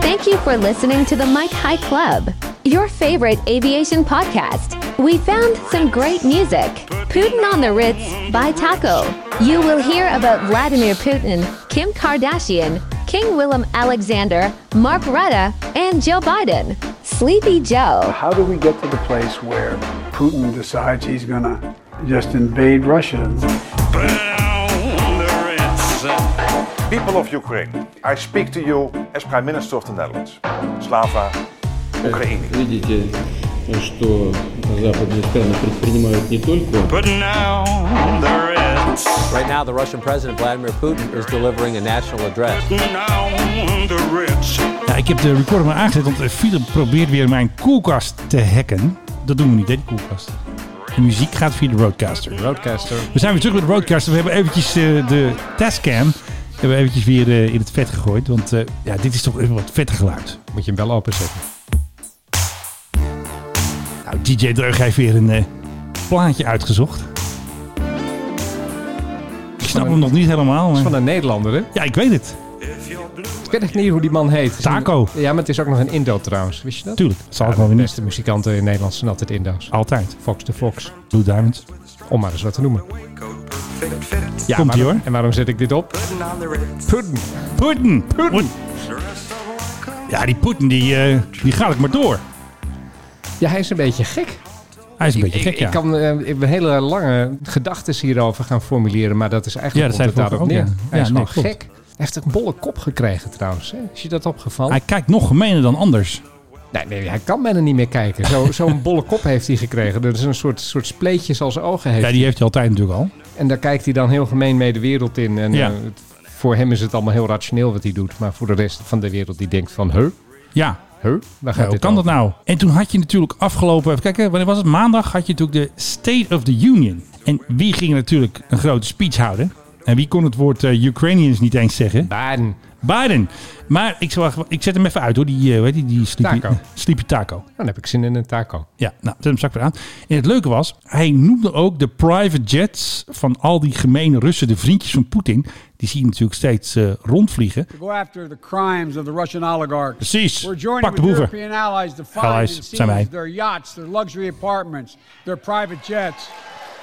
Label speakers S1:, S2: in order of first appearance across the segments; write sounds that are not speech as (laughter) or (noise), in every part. S1: Thank you for listening to the Mike High Club, your favorite aviation podcast. We found some great music. Putin on the Ritz by Taco. You will hear about Vladimir Putin, Kim Kardashian, King Willem Alexander, Mark Rutta, and Joe Biden. Sleepy Joe.
S2: How do we get to the place where Putin decides he's going to just invade Russia?
S3: People of Ukraine, I speak to you as Prime Minister of the Netherlands. Slava Ukraini.
S4: Видите, что западные страны предпринимают не только
S5: Right now, the Russian President Vladimir Putin is delivering a national address.
S6: Ja, ik heb de recorder maar aangezet, want eh, Philip probeert weer mijn koelkast te hacken. Dat doen we niet, hè, die koelkast. De muziek gaat via de roadcaster.
S7: Roadcaster.
S6: We zijn weer terug met de roadcaster. We hebben eventjes eh, de testcam hebben we eventjes weer eh, in het vet gegooid. Want eh, ja, dit is toch even wat vette geluid.
S7: Moet je hem wel openzetten.
S6: Nou, DJ Dreug heeft weer een eh, plaatje uitgezocht. Ik snap hem nog niet helemaal.
S7: Dat is
S6: maar-
S7: van een Nederlander, hè?
S6: Ja, ik weet het.
S7: Ik weet echt niet hoe die man heet. Het is
S6: Taco.
S7: een- ja, maar het is ook nog een Indo trouwens. Wist je dat?
S6: Tuurlijk. Dat zal
S7: Ja,
S6: ik wel
S7: de
S6: weer niet.
S7: beste muzikanten in Nederland zijn altijd Indo's.
S6: Altijd.
S7: Fox de Fox,
S6: Blue Diamonds.
S7: om maar eens wat te noemen.
S6: Komt-ie,
S7: Ja, waarom-
S6: hoor.
S7: En waarom zet ik dit op? Putin.
S6: Poetin. Poetin. Ja, die Poetin, die, eh, die gaat ik maar door.
S7: Ja, hij is een beetje gek.
S6: Hij is een beetje gek,
S7: ik,
S6: ja.
S7: ik kan eh, ik ben hele lange gedachten hierover gaan formuleren, maar dat is
S6: Ja,
S7: eigenlijk
S6: dat
S7: komt
S6: zei
S7: het daarop
S6: ik
S7: neer.
S6: ook, ja.
S7: Hij
S6: Ja,
S7: is
S6: nee,
S7: gewoon
S6: klopt.
S7: gek. Hij heeft een bolle kop gekregen trouwens. Hè? Is je dat opgevallen?
S6: Hij kijkt nog gemeener dan anders.
S7: Nee, nee, hij kan bijna niet meer kijken. Zo- Zo'n (laughs) bolle kop heeft hij gekregen. Dat is een soort, soort spleetjes als ogen heeft.
S6: Ja, die heeft hij altijd natuurlijk al.
S7: En daar kijkt hij dan heel gemeen mee de wereld in. En
S6: Ja.
S7: eh, het- voor hem is het allemaal heel rationeel wat hij doet. Maar voor de rest van de wereld die denkt van... Huh?
S6: Ja,
S7: Huh? Waar gaat
S6: ja, hoe
S7: dit
S6: kan dat
S7: over?
S6: nou? En toen had je natuurlijk afgelopen, even kijken, wanneer was het? Maandag had je natuurlijk de State of the Union. En wie ging natuurlijk een grote speech houden? En wie kon het woord eh, Ukrainians niet eens zeggen?
S7: Baden.
S6: Biden. Maar ik, zal, ik zet hem even uit hoor, die, eh, hoe heet die, die sleepy,
S7: Taco.
S6: (laughs) sleepy taco.
S7: Dan heb ik zin in een taco.
S6: Ja, nou, zet hem straks weer aan. En het leuke was, hij noemde ook de private jets van al die gemene Russen, de vriendjes van Poetin. Die zie je natuurlijk steeds eh, rondvliegen.
S2: Go after the crimes of the Russian oligarchs.
S6: Precies.
S2: We're joining
S6: Pak de
S2: with
S6: boeven.
S2: European allies to find
S6: Allies,
S2: and
S6: zijn wij.
S2: seize their yachts, their luxury apartments, their private jets.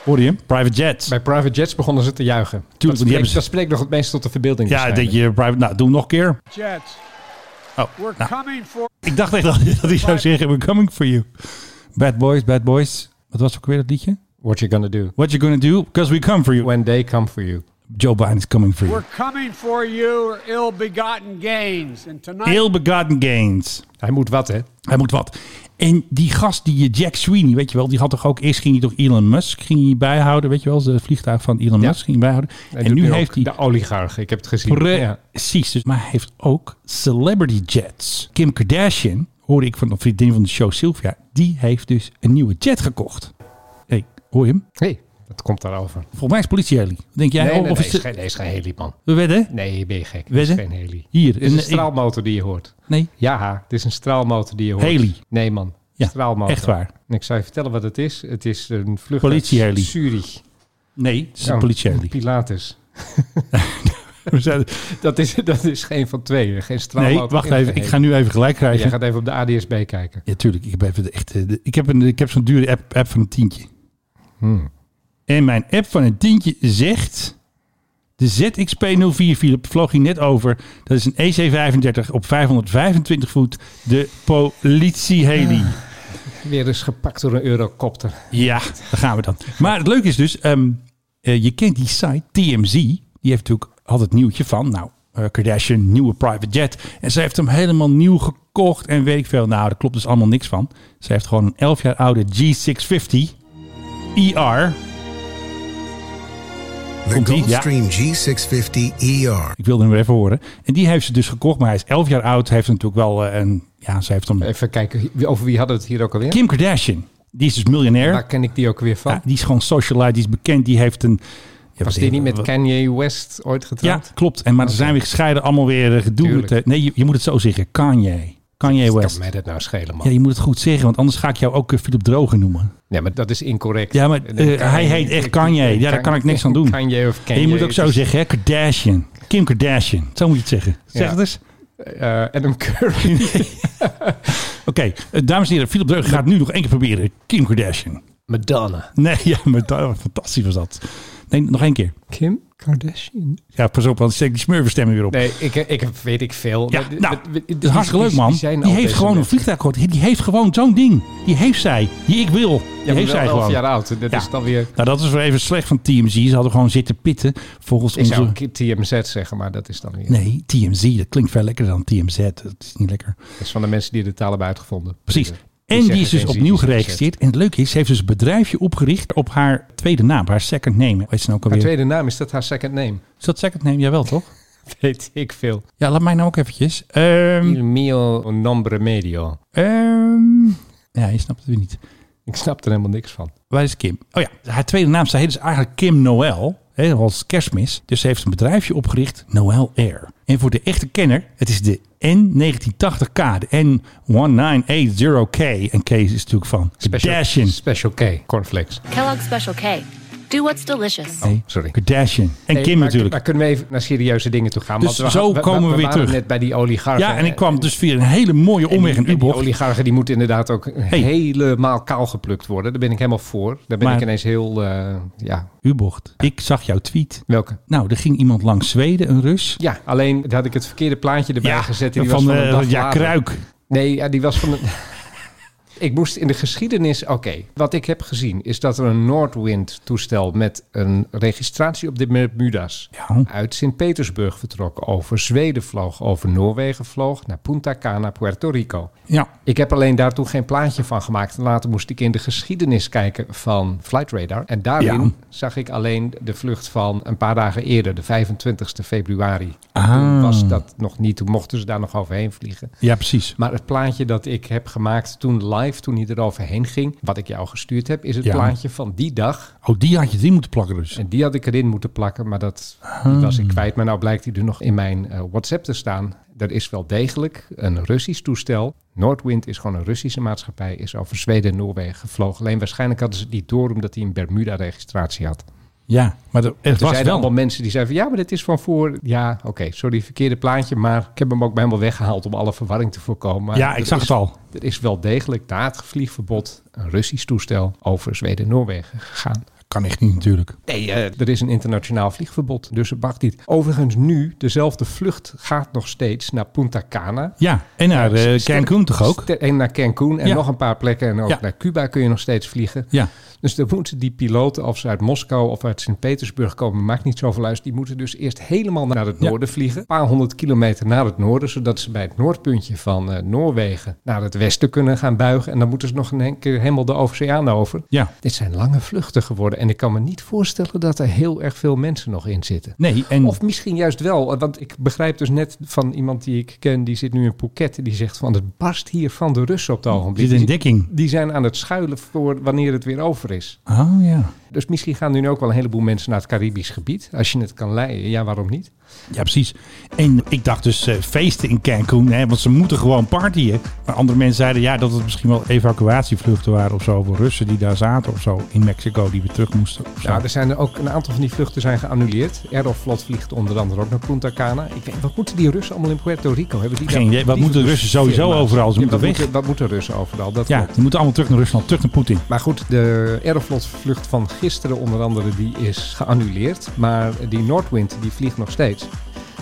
S6: Hoorde je hem? Private jets.
S7: Bij private jets begonnen ze te juichen. dat,
S6: want die
S7: spreekt,
S6: hebben ze-
S7: dat spreekt nog het meest tot de verbeelding.
S6: Ja,
S7: waarschijnlijk.
S6: dat je private... Nou, doe hem nog een keer.
S2: Jets.
S6: Oh,
S2: We're
S6: nou.
S2: coming for
S6: Ik dacht echt dat, dat hij zou zeggen, we're coming for you. Bad boys, bad boys. Wat was ook weer dat liedje?
S7: What you gonna do
S6: What you gonna do? Because we come for you.
S7: when they come for you.
S6: Joe Biden is coming for you.
S2: we're coming for you or ill-begotten gains. And tonight
S6: Ill-begotten gains.
S7: Hij moet wat, hè?
S6: Hij moet wat. En die gast, die eh, Jack Sweeney, weet je wel, die had toch ook eerst ging hij toch Elon Musk ging hij bijhouden, weet je wel, het vliegtuig van Elon
S7: Ja.
S6: Musk ging hij bijhouden.
S7: Hij
S6: en
S7: doet
S6: nu
S7: ook
S6: heeft hij
S7: De oligarch, ik heb het gezien. Ja.
S6: precies, dus, maar hij heeft ook celebrity jets. Kim Kardashian, hoorde ik van een vriendin van de show Sylvia, die heeft dus een nieuwe jet gekocht. Hé, hey, hoor je hem?
S7: hey, dat komt daarover.
S6: Volgens mij is het politieheli. Wat Denk jij?
S7: nee,
S6: Oh,
S7: nee,
S6: of
S7: nee,
S6: is
S7: is
S6: het-
S7: geen, nee, is geen heli, man.
S6: We wedden?
S7: Nee, ben je gek.
S6: Weet
S7: Dit is
S6: je?
S7: geen heli.
S6: Hier,
S7: Dit is
S6: een-
S7: een straalmotor die je hoort.
S6: Nee.
S7: Ja, dit is een straalmotor die je hoort.
S6: Heli.
S7: Nee, man.
S6: Ja,
S7: straalmotor.
S6: echt waar.
S7: En ik zou je vertellen wat het is. Het is een vlucht
S6: Politieheli.
S7: uit Zurich.
S6: Nee, het is een
S7: Ja,
S6: politieheli. (laughs)
S7: Pilatus.
S6: We zijn-
S7: Dat is, dat is geen van twee. Geen straalmotor.
S6: Nee, wacht
S7: en
S6: even.
S7: geen
S6: Ik ga nu even gelijk
S7: heli. Jij
S6: krijgen.
S7: gaat even op de ADSB kijken.
S6: Ja, tuurlijk. Ik heb, even de echte, de- ik heb, een, ik heb zo'n dure app, app van een tientje. En mijn app van een tientje zegt... De ZXP04 Philip vloog hier net over. Dat is een EC35 op 525 voet. De politieheli.
S7: Weer eens gepakt door een eurocopter.
S6: Ja, daar gaan we dan. Maar het leuke is dus, ehm, eh, je kent die site TMZ. Die heeft natuurlijk had het nieuwtje van, nou, eh, Kardashian, nieuwe private jet. En ze heeft hem helemaal nieuw gekocht en weet ik veel. Nou, daar klopt dus allemaal niks van. Ze heeft gewoon een 11 jaar oude G650 ER.
S8: The
S6: E Komt ie, ja.
S8: Gulfstream G650 ER.
S6: Ik wilde hem weer even horen. En die heeft ze dus gekocht, maar hij is 11 jaar oud. Heeft natuurlijk wel eh, een, ja, ze heeft hem...
S7: Even kijken, over wie hadden we het hier ook alweer?
S6: Kim Kardashian, die is dus miljonair.
S7: Waar ken ik die ook weer van?
S6: Ja, die is gewoon socialite, die is bekend, die heeft een... Ja,
S7: Was
S6: wat-
S7: die niet met
S6: wat-
S7: Kanye West ooit
S6: Ja,
S7: getrouwd?
S6: klopt. En maar ze zijn weer gescheiden, allemaal weer eh, gedoe.
S7: Tuurlijk.
S6: Met, eh, nee, je, je moet het zo zeggen. Kanye. Kanje
S7: Kan
S6: West.
S7: mij dat nou schelen, man?
S6: Ja, je moet het goed zeggen, want anders ga ik jou ook eh, Philip Drogen noemen.
S7: Nee, maar dat is incorrect.
S6: Ja, maar, eh, hij heet echt Kanye. Ja, daar kan ik niks aan doen.
S7: Kanye of
S6: En
S7: Kanye.
S6: je
S7: dus-
S6: moet ook zo zeggen, hè? Kardashian. Kim Kardashian. Zo moet je het zeggen. Zeg
S7: Ja.
S6: het eens.
S7: Eh, Adam Curry.
S6: (laughs) Oké, eh, dames en heren, Philip Dreugen gaat nu nog één keer proberen. Kim Kardashian.
S7: Madonna.
S6: Nee, (laughs) ja, maar dat, fantastisch was dat. Nee, nog één keer.
S7: Kim Kardashian.
S6: Ja, pas op, want steek die smurverstemming weer op.
S7: Nee, ik, ik weet ik veel.
S6: Ja,
S7: Maar-
S6: nou,
S7: maar-
S6: het is hartstikke leuk,
S7: die-
S6: man.
S7: die zijn
S6: Die,
S7: al
S6: heeft
S7: deze
S6: gewoon een
S7: mensen.
S6: vliegtuig gehad. Die heeft gewoon zo'n ding. Die heeft zij. Die ik wil. Die
S7: Ja,
S6: heeft
S7: maar wel
S6: zij
S7: 11
S6: gewoon.
S7: jaar oud. Dat
S6: Ja.
S7: is dan weer...
S6: Nou, dat is weer even slecht van TMZ. Ze hadden gewoon zitten pitten volgens
S7: Ik
S6: onze...
S7: zou ook TMZ zeggen, maar dat is dan weer...
S6: Nee, TMZ. Dat klinkt veel lekkerder dan TMZ. Dat is niet lekker.
S7: Dat is van de mensen die de taal hebben uitgevonden.
S6: Precies.
S7: Die
S6: En
S7: zeggen
S6: die is dus
S7: geen
S6: opnieuw
S7: zin, die zeggen
S6: geregistreerd. En het leuke is, ze heeft dus een bedrijfje opgericht op haar tweede naam. Haar second name. Weet ze nou ook
S7: Haar
S6: alweer?
S7: tweede naam, is dat haar second name? (laughs)
S6: Is dat second name? Jawel, toch?
S7: Weet ik veel.
S6: Ja, laat mij nou ook eventjes. Ehm
S7: Mio nombre medio.
S6: ehm, ja, je snapt het weer niet.
S7: Ik snap er helemaal niks van.
S6: Waar is Kim? Oh ja, haar tweede naam, zij heet dus eigenlijk Kim Noel. Hè, als kerstmis. Dus ze heeft een bedrijfje opgericht, Noel Air. En voor de echte kenner, het is de N1980K. De N1980K. En K is natuurlijk van Kardashian.
S7: Special K. Cornflakes. Oh,
S9: Kellogg's Special K. Do what's delicious.
S6: Nee,
S7: sorry.
S6: Kardashian. En
S7: Nee,
S6: Kim
S7: maar,
S6: natuurlijk.
S7: Maar kunnen we even naar serieuze dingen toe gaan?
S6: Dus
S7: Want
S6: zo komen we weer
S7: waren
S6: terug.
S7: net bij die oligarchen.
S6: ja, en ik kwam dus via een hele mooie
S7: En
S6: omweg
S7: die-
S6: een
S7: en die
S6: U-bocht.
S7: oligarchen die moeten inderdaad ook helemaal kaal geplukt worden. Daar ben ik helemaal voor. Daar ben
S6: Maar-
S7: ik ineens heel... eh, ja,
S6: U-bocht. Ik zag jouw tweet.
S7: welke?
S6: Nou, er ging iemand langs Zweden, een Rus.
S7: Ja, alleen daar had ik het verkeerde plaatje erbij gezet. en Die
S6: van,
S7: was van
S6: eh,
S7: een dag
S6: ja,
S7: later.
S6: Kruik.
S7: Nee, ja, die was van een... (laughs) ik moest in de geschiedenis... Oké, wat ik heb gezien is dat er een Noordwind toestel met een registratie op de Bermuda's
S6: Ja.
S7: uit Sint-Petersburg vertrok. Over Zweden vloog, over Noorwegen vloog, naar Punta Cana, Puerto Rico.
S6: Ja,
S7: Ik heb alleen daartoe geen plaatje van gemaakt. Later moest ik in de geschiedenis kijken van Flight Radar. En daarin
S6: Ja.
S7: zag ik alleen de vlucht van een paar dagen eerder, de 25 februari.
S6: Ah.
S7: Toen was dat nog niet, toen mochten ze daar nog overheen vliegen.
S6: ja precies.
S7: Maar het plaatje dat ik heb gemaakt toen live, toen hij eroverheen ging, wat ik jou gestuurd heb, is het
S6: Ja.
S7: plaatje van die dag.
S6: Oh, die had je drie moeten plakken dus.
S7: En die had ik erin moeten plakken, maar dat die was
S6: Hmm.
S7: ik kwijt. Maar nou blijkt die er nog in mijn eh, WhatsApp te staan. Er is wel degelijk een Russisch toestel. Noordwind is gewoon een Russische maatschappij, is over Zweden en Noorwegen gevlogen. Alleen waarschijnlijk hadden ze het niet door omdat hij een Bermuda-registratie had.
S6: Ja, maar er, er
S7: Er
S6: was
S7: zijn allemaal
S6: wel...
S7: mensen die zeiden van ja, maar dit is van voor. Ja, oké, sorry, verkeerde plaatje. Maar ik heb hem ook bij helemaal weggehaald om alle verwarring te voorkomen. Maar
S6: Ja, ik
S7: er
S6: zag
S7: is-
S6: het al.
S7: Er is wel degelijk na het vliegverbod een Russisch toestel over Zweden en Noorwegen gegaan.
S6: Kan echt niet natuurlijk.
S7: Nee, eh, er is een internationaal vliegverbod, dus het mag niet. Overigens nu, dezelfde vlucht gaat nog steeds naar Punta Cana.
S6: Ja, en naar eh,
S7: Ster-
S6: Cancun toch ook?
S7: Ster- En naar Cancun en
S6: Ja.
S7: nog een paar plekken. En ook
S6: Ja.
S7: naar Cuba kun je nog steeds vliegen.
S6: Ja.
S7: Dus dan moeten die piloten, of ze uit Moskou of uit Sint-Petersburg komen, maakt niet zoveel uit. Die moeten dus eerst helemaal naar het
S6: Ja.
S7: noorden vliegen. Een paar honderd kilometer naar het noorden, zodat ze bij het noordpuntje van eh, Noorwegen naar het westen kunnen gaan buigen. En dan moeten ze nog een keer helemaal de oceaan over.
S6: Ja.
S7: Dit zijn lange vluchten geworden. En ik kan me niet voorstellen dat er heel erg veel mensen nog in zitten.
S6: Nee, en...
S7: Of misschien juist wel, eh, want ik begrijp dus net van iemand die ik ken, die zit nu in Phuket, die zegt van het barst hier van de Russen op het ogenblik.
S6: Zit in
S7: Die-
S6: dekking.
S7: Die zijn aan het schuilen voor wanneer het weer over is.
S6: Oh ja.
S7: Dus misschien gaan nu ook wel een heleboel mensen naar het Caribisch gebied. Als je het kan leiden, ja waarom niet?
S6: Ja, precies. En ik dacht dus eh, feesten in Cancun, hè, want ze moeten gewoon partyen. Maar andere mensen zeiden ja dat het misschien wel evacuatievluchten waren of zo. Voor Russen die daar zaten of zo in Mexico die weer terug moesten. of zo.
S7: Nou, er zijn er ook een aantal van die vluchten zijn geannuleerd. Aeroflot vliegt onder andere ook naar Punta Cana. Ik weet, wat moeten die Russen allemaal in Puerto Rico? Hebben die
S6: Geen
S7: daar
S6: idee. Wat moeten de Russen sowieso
S7: firma's?
S6: overal? Ze
S7: Ja,
S6: moeten
S7: wat
S6: weg.
S7: Wat moeten Russen overal? Dat
S6: ja,
S7: klopt.
S6: die moeten allemaal terug naar Rusland, terug naar Poetin.
S7: Maar goed, de Aeroflot-vlucht van gisteren onder andere die is geannuleerd. Maar die Noordwind die vliegt nog steeds.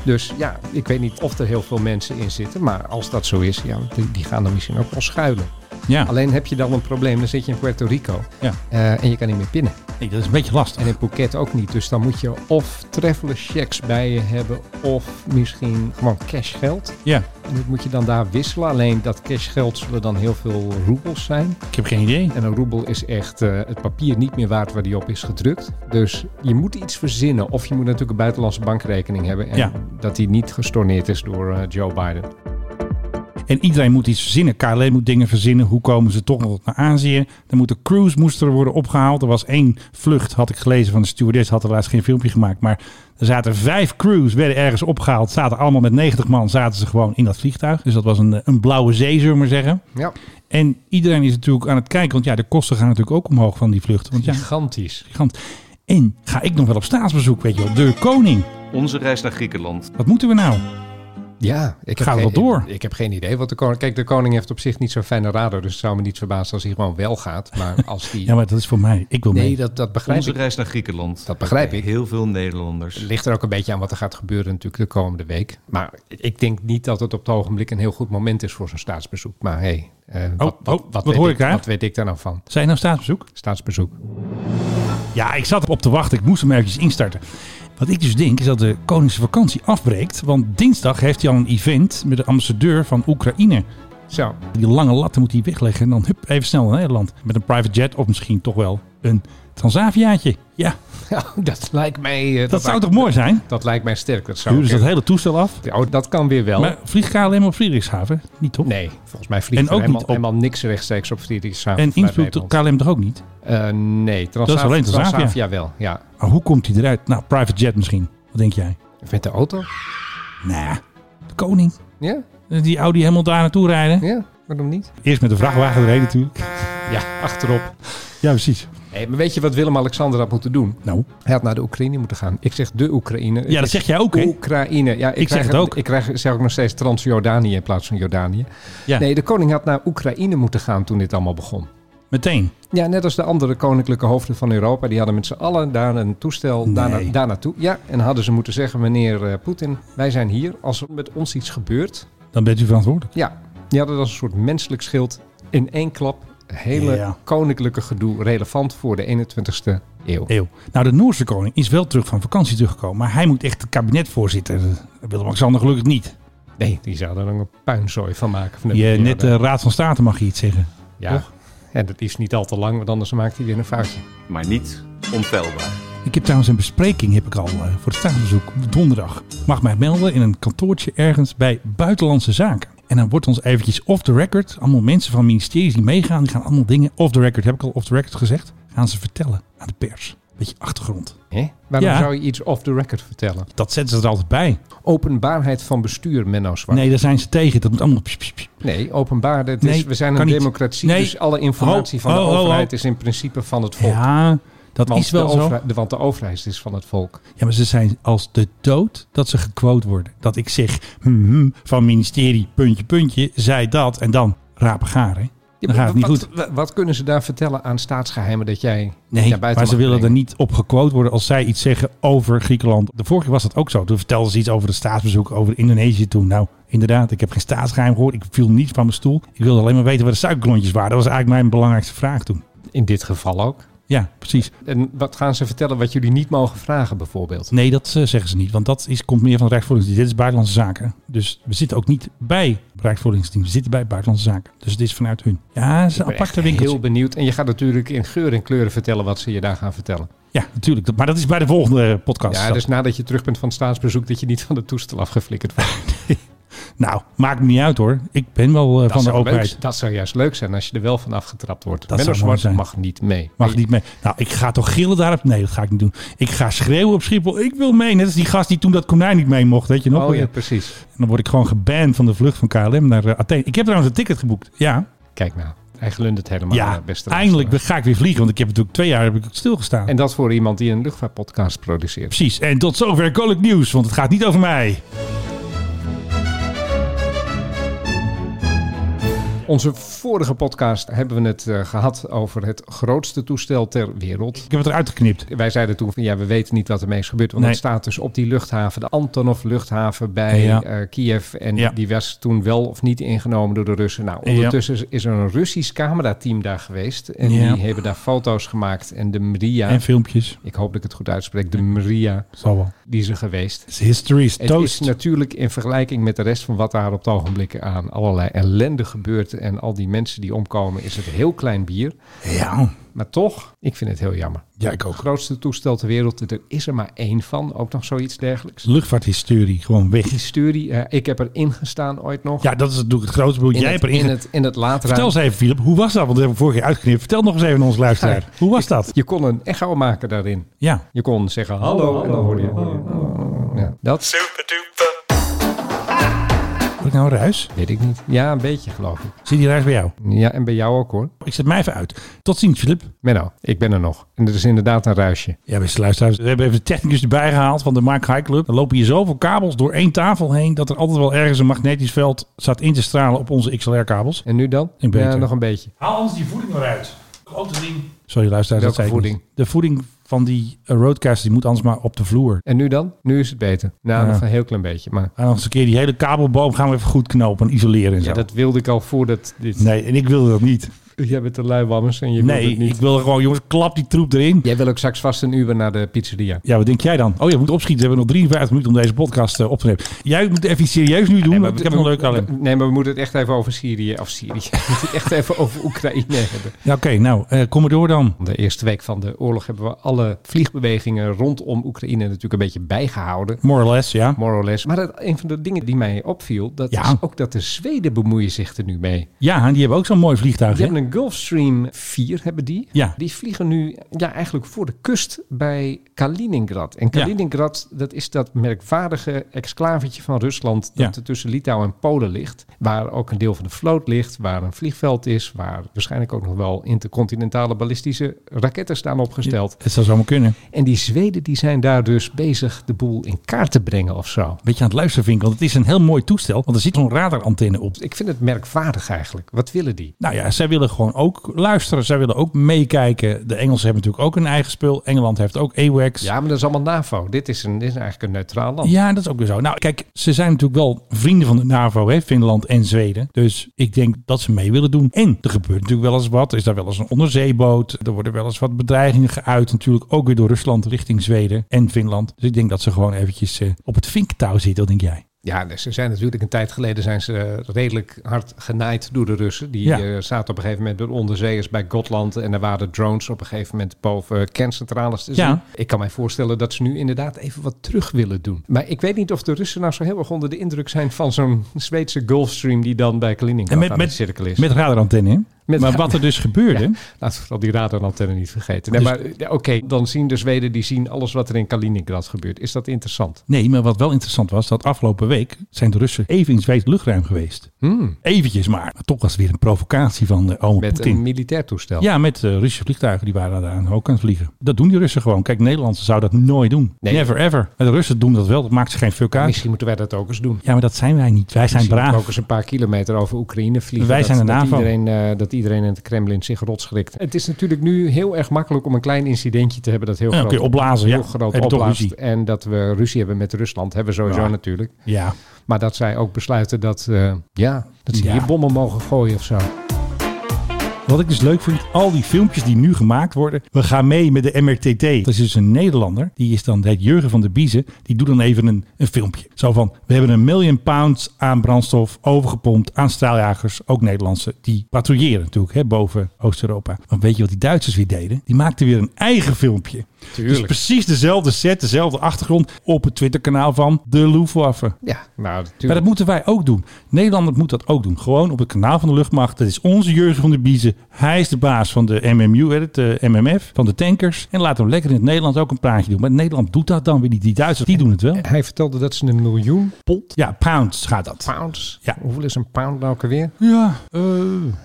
S7: Dus ja, ik weet niet of er heel veel mensen in zitten. Maar als dat zo is, ja, die, die gaan er misschien ook wel schuilen.
S6: Ja,
S7: Alleen heb je dan een probleem, dan zit je in Puerto Rico.
S6: Ja.
S7: Eh, en je kan niet meer pinnen.
S6: nee, dat is een beetje lastig.
S7: En in Phuket ook niet. Dus dan moet je of traveler checks bij je hebben... of misschien gewoon cash geld.
S6: Ja,
S7: En dat moet je dan daar wisselen. Alleen dat cash geld zullen dan heel veel roebels zijn.
S6: ik heb geen idee.
S7: En een roebel is echt eh, het papier niet meer waard waar die op is gedrukt. Dus je moet iets verzinnen. Of je moet natuurlijk een buitenlandse bankrekening hebben. En
S6: Ja.
S7: dat die niet gestorneerd is door eh, Joe Biden.
S6: En iedereen moet iets verzinnen. KLM moet dingen verzinnen. Hoe komen ze toch nog naar Azië? Dan moet de cruise moest er worden opgehaald. Er was één vlucht, had ik gelezen van de stewardess. Had er laatst geen filmpje gemaakt. Maar er zaten vijf crews, werden ergens opgehaald. Zaten allemaal met 90 man, zaten ze gewoon in dat vliegtuig. Dus dat was een, eh, een blauwe zee, zullen we maar zeggen.
S7: Ja,
S6: En iedereen is natuurlijk aan het kijken. Want ja, de kosten gaan natuurlijk ook omhoog van die vluchten. Want ja,
S7: gigantisch.
S6: gigant. En ga ik nog wel op staatsbezoek, weet je wel. De koning.
S10: Onze reis naar Griekenland.
S6: Wat moeten we nou?
S7: Ja, ik heb
S6: Gaat
S7: geen-
S6: wel door.
S7: Ik, ik heb geen idee. Want de koning, kijk, de koning heeft op zich niet zo'n fijne radar. Dus het zou me niet verbazen als hij gewoon wel gaat. Maar
S6: (laughs)
S7: als die.
S6: Ja, maar dat is voor mij. Ik wil mee.
S7: nee, dat, dat begrijp
S10: Onze
S7: ik.
S10: reis naar Griekenland.
S7: Dat begrijp ik.
S10: Heel veel Nederlanders.
S7: Het ligt er ook een beetje aan wat er gaat gebeuren natuurlijk de komende week. Maar ik denk niet dat het op het ogenblik een heel goed moment is voor zo'n staatsbezoek. Maar hey, eh, wat,
S6: oh,
S7: wat,
S6: wat
S7: weet
S6: hoor
S7: ik,
S6: ik daar?
S7: Wat weet ik daar nou van?
S6: Zijn nou staatsbezoek?
S7: Staatsbezoek.
S6: Ja, ik zat op te wachten. Ik moest hem eventjes instarten. Wat ik dus denk is dat de Koningse vakantie afbreekt. Want dinsdag heeft hij al een event met de ambassadeur van Oekraïne.
S7: Zo, (laughs)
S6: Die lange latten moet hij wegleggen. En dan hup, even snel naar Nederland. Met een private jet of misschien toch wel een Transaviaatje. Ja,
S7: dat lijkt mij... eh,
S6: dat zou
S7: lijkt-
S6: toch mooi zijn?
S7: Dat lijkt mij sterk. Dat zou
S6: Huren ze dat
S7: ik-
S6: hele toestel af.
S7: Oh, dat kan weer wel.
S6: Maar vliegt KLM op Friedrichshaven? Niet toch?
S7: Nee, volgens mij vliegt
S6: En
S7: er
S6: ook
S7: helemaal,
S6: niet op-
S7: helemaal niks rechtstreeks op Friedrichshaven.
S6: En
S7: vanuit
S6: Innsbruck
S7: Nederland.
S6: KLM toch ook niet?
S7: Eh, nee, Transavia,
S6: Dat is alleen Transavia.
S7: Transavia wel, ja.
S6: Maar hoe komt hij eruit? Nou, private jet misschien. Wat denk jij?
S7: Met de auto?
S6: Nou, de koning.
S7: Ja,
S6: Die Audi helemaal daar naartoe rijden.
S7: ja, waarom niet?
S6: Eerst met de vrachtwagen erheen natuurlijk.
S7: Ja, achterop.
S6: Ja, precies.
S7: Hey, maar weet je wat Willem-Alexander had moeten doen?
S6: Nou,
S7: Hij had naar de Oekraïne moeten gaan. Ik zeg de Oekraïne. Het
S6: ja, dat
S7: is
S6: zeg jij ook, hè?
S7: Oekraïne. Ja, ik,
S6: zeg
S7: krijg
S6: het ook.
S7: Ik krijg, zeg ook nog steeds Trans-Jordanië in plaats van Jordanië.
S6: Ja.
S7: Nee, de koning had naar Oekraïne moeten gaan toen dit allemaal begon.
S6: Meteen.
S7: Ja, net als de andere koninklijke hoofden van Europa. Die hadden met z'n allen daar een toestel daar,
S6: Nee.
S7: na- daar naartoe. Ja, en hadden ze moeten zeggen, meneer eh, Poetin, wij zijn hier. Als er met ons iets gebeurt.
S6: Dan bent u verantwoordelijk.
S7: Ja, die hadden als een soort menselijk schild in één klap. Hele
S6: Ja.
S7: koninklijke gedoe relevant voor de 21ste eeuw.
S6: Eeuw. Nou, de Noorse koning is wel terug van vakantie teruggekomen. Maar hij moet echt het kabinet voorzitten. Willem-Alexander gelukkig niet.
S7: Nee, die zou er dan een puinzooi van maken. Van de
S6: Die, eh, net
S7: miljarden.
S6: de Raad van State mag je iets zeggen.
S7: ja. En dat is niet al te lang, want anders maakt hij weer een foutje.
S10: Maar niet onfeilbaar.
S6: Ik heb trouwens een bespreking heb ik al eh, voor het staatsbezoek donderdag. Mag mij melden in een kantoortje ergens bij Buitenlandse Zaken. En dan wordt ons eventjes off the record. Allemaal mensen van ministeries die meegaan, die gaan allemaal dingen off the record. Heb ik al off the record gezegd? Gaan ze vertellen aan de pers. Beetje achtergrond.
S7: Hè? Waarom
S6: Ja.
S7: zou je iets off the record vertellen?
S6: Dat zetten ze er altijd bij.
S7: Openbaarheid van bestuur, Menno Zwart.
S6: Nee, daar zijn ze tegen. Dat moet allemaal. pss, pss, pss.
S7: Nee, openbaar. dat
S6: Nee,
S7: is, we zijn
S6: kan
S7: een
S6: niet.
S7: democratie,
S6: Nee.
S7: dus alle informatie
S6: Ho,
S7: van de
S6: ho, ho, ho.
S7: overheid is in principe van het volk.
S6: Ja, dat
S7: want,
S6: is wel
S7: de
S6: zo.
S7: overheid- de- want de overheid is van het volk.
S6: Ja, maar ze zijn als de dood dat ze gequote worden. Dat ik zeg hmm, hmm, van ministerie, puntje, puntje, zei dat en dan rapen gaar, hè? Dan gaat het niet
S7: wat,
S6: goed.
S7: wa- Wat kunnen ze daar vertellen aan staatsgeheimen dat jij
S6: Nee,
S7: naar buiten
S6: maar ze
S7: mag
S6: willen er
S7: brengen?
S6: niet op gequote worden als zij iets zeggen over Griekenland. De vorige keer was dat ook zo. Toen vertelden ze iets over het staatsbezoek over Indonesië toen. Nou, inderdaad, ik heb geen staatsgeheim gehoord. Ik viel niet van mijn stoel. Ik wilde alleen maar weten waar de suikerklontjes waren. Dat was eigenlijk mijn belangrijkste vraag toen.
S7: In dit geval ook.
S6: Ja, precies.
S7: En wat gaan ze vertellen wat jullie niet mogen vragen bijvoorbeeld?
S6: Nee, dat eh, zeggen ze niet. Want dat is, komt meer van Rijksvoorlichtingsdienst. Dit is Buitenlandse Zaken. Dus we zitten ook niet bij Rijksvoorlichtingsdienst. We zitten bij Buitenlandse Zaken. Dus het is vanuit hun. Ja, het is een
S7: Ik ben
S6: aparte
S7: echt
S6: winkel.
S7: Heel benieuwd. En je gaat natuurlijk in geur en kleuren vertellen wat ze je daar gaan vertellen.
S6: Ja, natuurlijk. Dat- Maar dat is bij de volgende eh, podcast.
S7: Ja,
S6: Dat-
S7: dus nadat je terug bent van het staatsbezoek, dat je niet van het toestel afgeflikkerd
S6: (laughs)
S7: wordt.
S6: Nou, maakt me niet uit hoor. Ik ben wel eh, van de
S7: zou
S6: overheid.
S7: leuk- dat zou juist leuk zijn als je er wel van afgetrapt wordt.
S6: Dat
S7: Menno
S6: zou mooi zijn.
S7: Zwart mag niet mee.
S6: Mag niet mee. Nou, ik ga toch gillen daarop? Nee, dat ga ik niet doen. Ik ga schreeuwen op Schiphol. Ik wil mee. Net als die gast die toen dat konijn niet mee mocht. Weet je nog?
S7: Oh ja,
S6: En
S7: precies.
S6: dan word ik gewoon geband van de vlucht van KLM naar eh, Athene. Ik heb trouwens een ticket geboekt. Ja,
S7: Kijk nou, hij glundert het helemaal.
S6: ja
S7: eh, beste
S6: eindelijk
S7: luisteraar.
S6: ga ik weer vliegen. Want ik heb natuurlijk twee jaar heb ik stilgestaan.
S7: En dat voor iemand die een luchtvaartpodcast produceert.
S6: Precies. En tot zover Koninklijk Nieuws, want het gaat niet over mij.
S7: Onze vorige podcast hebben we het eh, gehad over het grootste toestel ter wereld.
S6: Ik heb het eruit geknipt.
S7: Wij zeiden toen van ja, we weten niet wat ermee is gebeurd. Want
S6: Nee.
S7: het staat dus op die luchthaven, de Antonov luchthaven bij
S6: Ja.
S7: eh, Kiev. En
S6: Ja.
S7: die was toen wel of niet ingenomen door de Russen. Nou,
S6: Ja.
S7: ondertussen is- is er een Russisch camerateam daar geweest. En
S6: Ja.
S7: die hebben daar foto's gemaakt. En de Maria,
S6: En filmpjes.
S7: ik hoop dat ik het goed uitspreek, de Maria,
S6: Zal wel.
S7: die is er geweest.
S6: It's history is
S7: Het
S6: toast.
S7: is natuurlijk in vergelijking met de rest van wat daar op het ogenblik aan allerlei ellende gebeurt. en al die mensen die omkomen, is het heel klein bier.
S6: Ja,
S7: Maar toch, ik vind het heel jammer.
S6: ja, ik
S7: Het
S6: ook.
S7: grootste toestel ter wereld, er is er maar één van, ook nog zoiets dergelijks.
S6: Luchtvaarthistorie, gewoon weg.
S7: Historie, eh ik heb erin gestaan ooit nog.
S6: Ja, dat is natuurlijk het grootste boel.
S7: in
S6: Jij
S7: het,
S6: hebt erin.
S7: in het, in het laatruim.
S6: Vertel eens even, Filip, hoe was dat? Want dat hebben we vorige keer uitgeknipt. Vertel nog eens even aan onze luisteraar. Hoe was dat?
S7: Je kon een echo maken daarin.
S6: Ja.
S7: Je kon zeggen hallo en dan hoorde je... Ja, dat
S6: Heb ik nou ruis?
S7: weet ik niet. Ja, een beetje geloof ik.
S6: Zit die ruis bij jou?
S7: Ja, en bij jou ook hoor.
S6: Ik zet mij even uit. Tot ziens, Filip.
S7: Menno, ik ben er nog. En er is inderdaad een ruisje.
S6: Ja, beste luisteraars. We hebben even de technicus erbij gehaald van de Mark High Club. Er lopen hier zoveel kabels door één tafel heen... dat er altijd wel ergens een magnetisch veld staat in te stralen op onze XLR-kabels.
S7: En nu dan?
S6: Een beetje.
S7: Ja, nog een beetje.
S6: Haal anders die voeding eruit. Grote ding. Sorry, luisteraars.
S7: Welke
S6: dat zei ik
S7: voeding?
S6: niet. De voeding van die eh, roadcaster die moet anders maar op de vloer.
S7: En nu dan? Nu is het beter. Nou,
S6: Ja.
S7: nog een heel klein beetje. Maar
S6: En nog eens een keer die hele kabelboom gaan we even goed knopen en isoleren en zo.
S7: ja, dat wilde ik al voordat dit...
S6: Nee, en ik wilde dat niet.
S7: Jij bent de luiwammers en je wilt
S6: nee,
S7: het niet.
S6: ik wilde gewoon, jongens, klap die troep erin.
S7: Jij wil ook straks vast een uur naar de pizzeria.
S6: Ja, wat denk jij dan? Oh ja, we moeten opschieten. We hebben nog 53 minuten om deze podcast eh, op te nemen. Jij moet even iets serieus nu doen, want ik heb nog leuk alleen.
S7: Nee, maar we moeten het echt even over Syrië... Of Syrië. (laughs) We moeten het echt even over Oekraïne hebben.
S6: Ja, oké, nou, eh, kom maar door dan.
S7: De eerste week van de oorlog hebben we alle vliegbewegingen rondom Oekraïne natuurlijk een beetje bijgehouden.
S6: More or less, ja.
S7: More or less. Maar dat, een van de dingen die mij opviel, dat
S6: Ja.
S7: is ook dat de Zweden bemoeien zich er nu mee.
S6: Ja, en die hebben ook zo'n mooi vliegtuig,
S7: Die
S6: hè?
S7: hebben een Gulfstream 4, hebben die.
S6: Ja.
S7: Die vliegen nu ja, eigenlijk voor de kust bij Kaliningrad. En Kaliningrad, dat is dat merkwaardige exclavetje van Rusland... dat
S6: Ja.
S7: er tussen Litouwen en Polen ligt. Waar ook een deel van de vloot ligt, waar een vliegveld is... waar waarschijnlijk ook nog wel intercontinentale ballistische raketten staan opgesteld.
S6: Het zou zomaar kunnen.
S7: En die Zweden die zijn daar dus bezig de boel in kaart te brengen of zo.
S6: Weet je aan het luisteren, Vink, want het is een heel mooi toestel. Want er zit zo'n radarantenne op.
S7: Ik vind het merkwaardig eigenlijk. Wat willen die?
S6: Nou ja, zij willen gewoon ook luisteren. Zij willen ook meekijken. De Engelsen hebben natuurlijk ook een eigen spul. Engeland heeft ook AWACS.
S7: Ja, maar dat is allemaal NAVO. Dit is, een, dit is eigenlijk een neutraal land.
S6: Ja, dat is ook weer zo. Nou, kijk, ze zijn natuurlijk wel vrienden van de NAVO, hè, Finland en Zweden. Dus ik denk dat ze mee willen doen. En er gebeurt natuurlijk wel eens wat. Er is daar wel eens een onderzeeboot. Er worden wel eens wat bedreigingen geuit. Natuurlijk ook weer door Rusland richting Zweden en Finland. Dus ik denk dat ze gewoon eventjes eh, op het vinktouw zitten. Wat denk jij?
S7: Ja, dus ze zijn natuurlijk een tijd geleden zijn ze eh, redelijk hard genaaid door de Russen. Die
S6: Ja.
S7: eh, zaten op een gegeven moment door onderzeeërs bij Gotland. En er waren drones op een gegeven moment boven eh, kerncentrales te zien.
S6: Ja.
S7: Ik kan mij voorstellen dat ze nu inderdaad even wat terug willen doen. Maar ik weet niet of de Russen nou zo heel erg onder de indruk zijn van zo'n Zweedse Gulfstream die dan bij Kaliningrad aan de cirkel is.
S6: met radarantenne. hè?
S7: Met
S6: maar
S7: ra-
S6: wat er
S7: (laughs)
S6: dus gebeurde.
S7: Ja, laten we vooral die radarantenne niet vergeten. Nee,
S6: Dus-
S7: maar eh, oké, dan zien de Zweden die zien alles wat er in Kaliningrad gebeurt. Is dat interessant?
S6: Nee, maar wat wel interessant was, dat afgelopen week zijn de Russen even in Zweeds luchtruim geweest. Eventjes maar. Maar toch was het weer een provocatie van eh oma
S7: Hmm. Met
S6: Poetin.
S7: een militair toestel.
S6: Ja, met eh, Russische vliegtuigen. Die waren daar ook aan het vliegen. Dat doen die Russen gewoon. Kijk, Nederlanders zouden dat nooit doen.
S7: Nee.
S6: Never ever. En de Russen doen dat wel. Dat maakt ze geen fuck uit.
S7: Misschien moeten wij dat ook eens doen.
S6: Ja, maar dat zijn wij niet. Wij zijn
S7: Misschien
S6: braaf.
S7: ook eens een paar kilometer over Oekraïne vliegen.
S6: Wij
S7: dat,
S6: zijn de
S7: dat
S6: NAVO.
S7: Iedereen, eh, dat iedereen in het Kremlin zich rot schrikt. Het is natuurlijk nu heel erg makkelijk om een klein incidentje te hebben dat heel
S6: Ja,
S7: groot,
S6: kun je opblazen,
S7: heel
S6: ja.
S7: groot
S6: Heb je toch
S7: opblaast.
S6: ruzie.
S7: En dat we ruzie hebben met Rusland, hebben we sowieso
S6: Ja.
S7: natuurlijk.
S6: Ja.
S7: Maar dat zij ook besluiten dat, eh, ja, dat ze
S6: Ja.
S7: hier bommen mogen gooien of zo.
S6: Wat ik dus leuk vind, al die filmpjes die nu gemaakt worden. We gaan mee met de MRTT. Dat is dus een Nederlander. Die is dan het Jurgen van der Biezen. Die doet dan even een, een filmpje. Zo van, we hebben een miljoen pounds aan brandstof overgepompt aan straaljagers. Ook Nederlandse. Die patrouilleren natuurlijk hè, boven Oost-Europa. Maar weet je wat die Duitsers weer deden? Die maakten weer een eigen filmpje. Dus precies dezelfde set, dezelfde achtergrond op het Twitterkanaal van de Luftwaffe.
S7: Ja, nou,
S6: Maar
S7: natuurlijk.
S6: dat moeten wij ook doen. Nederland moet dat ook doen. Gewoon op het kanaal van de luchtmacht. Dat is onze Jurgen van der Biezen. Hij is de baas van de MMU, hè, het eh, MMF, van de tankers. En laat hem lekker in het Nederland ook een praatje doen. Maar Nederland doet dat dan weer niet. Die Duitsers, die doen het wel.
S7: Hij vertelde dat ze een miljoen pond,
S6: Ja, pounds gaat dat.
S7: pounds.
S6: Ja.
S7: Hoeveel is een pound nou ook alweer?
S6: Ja, eh,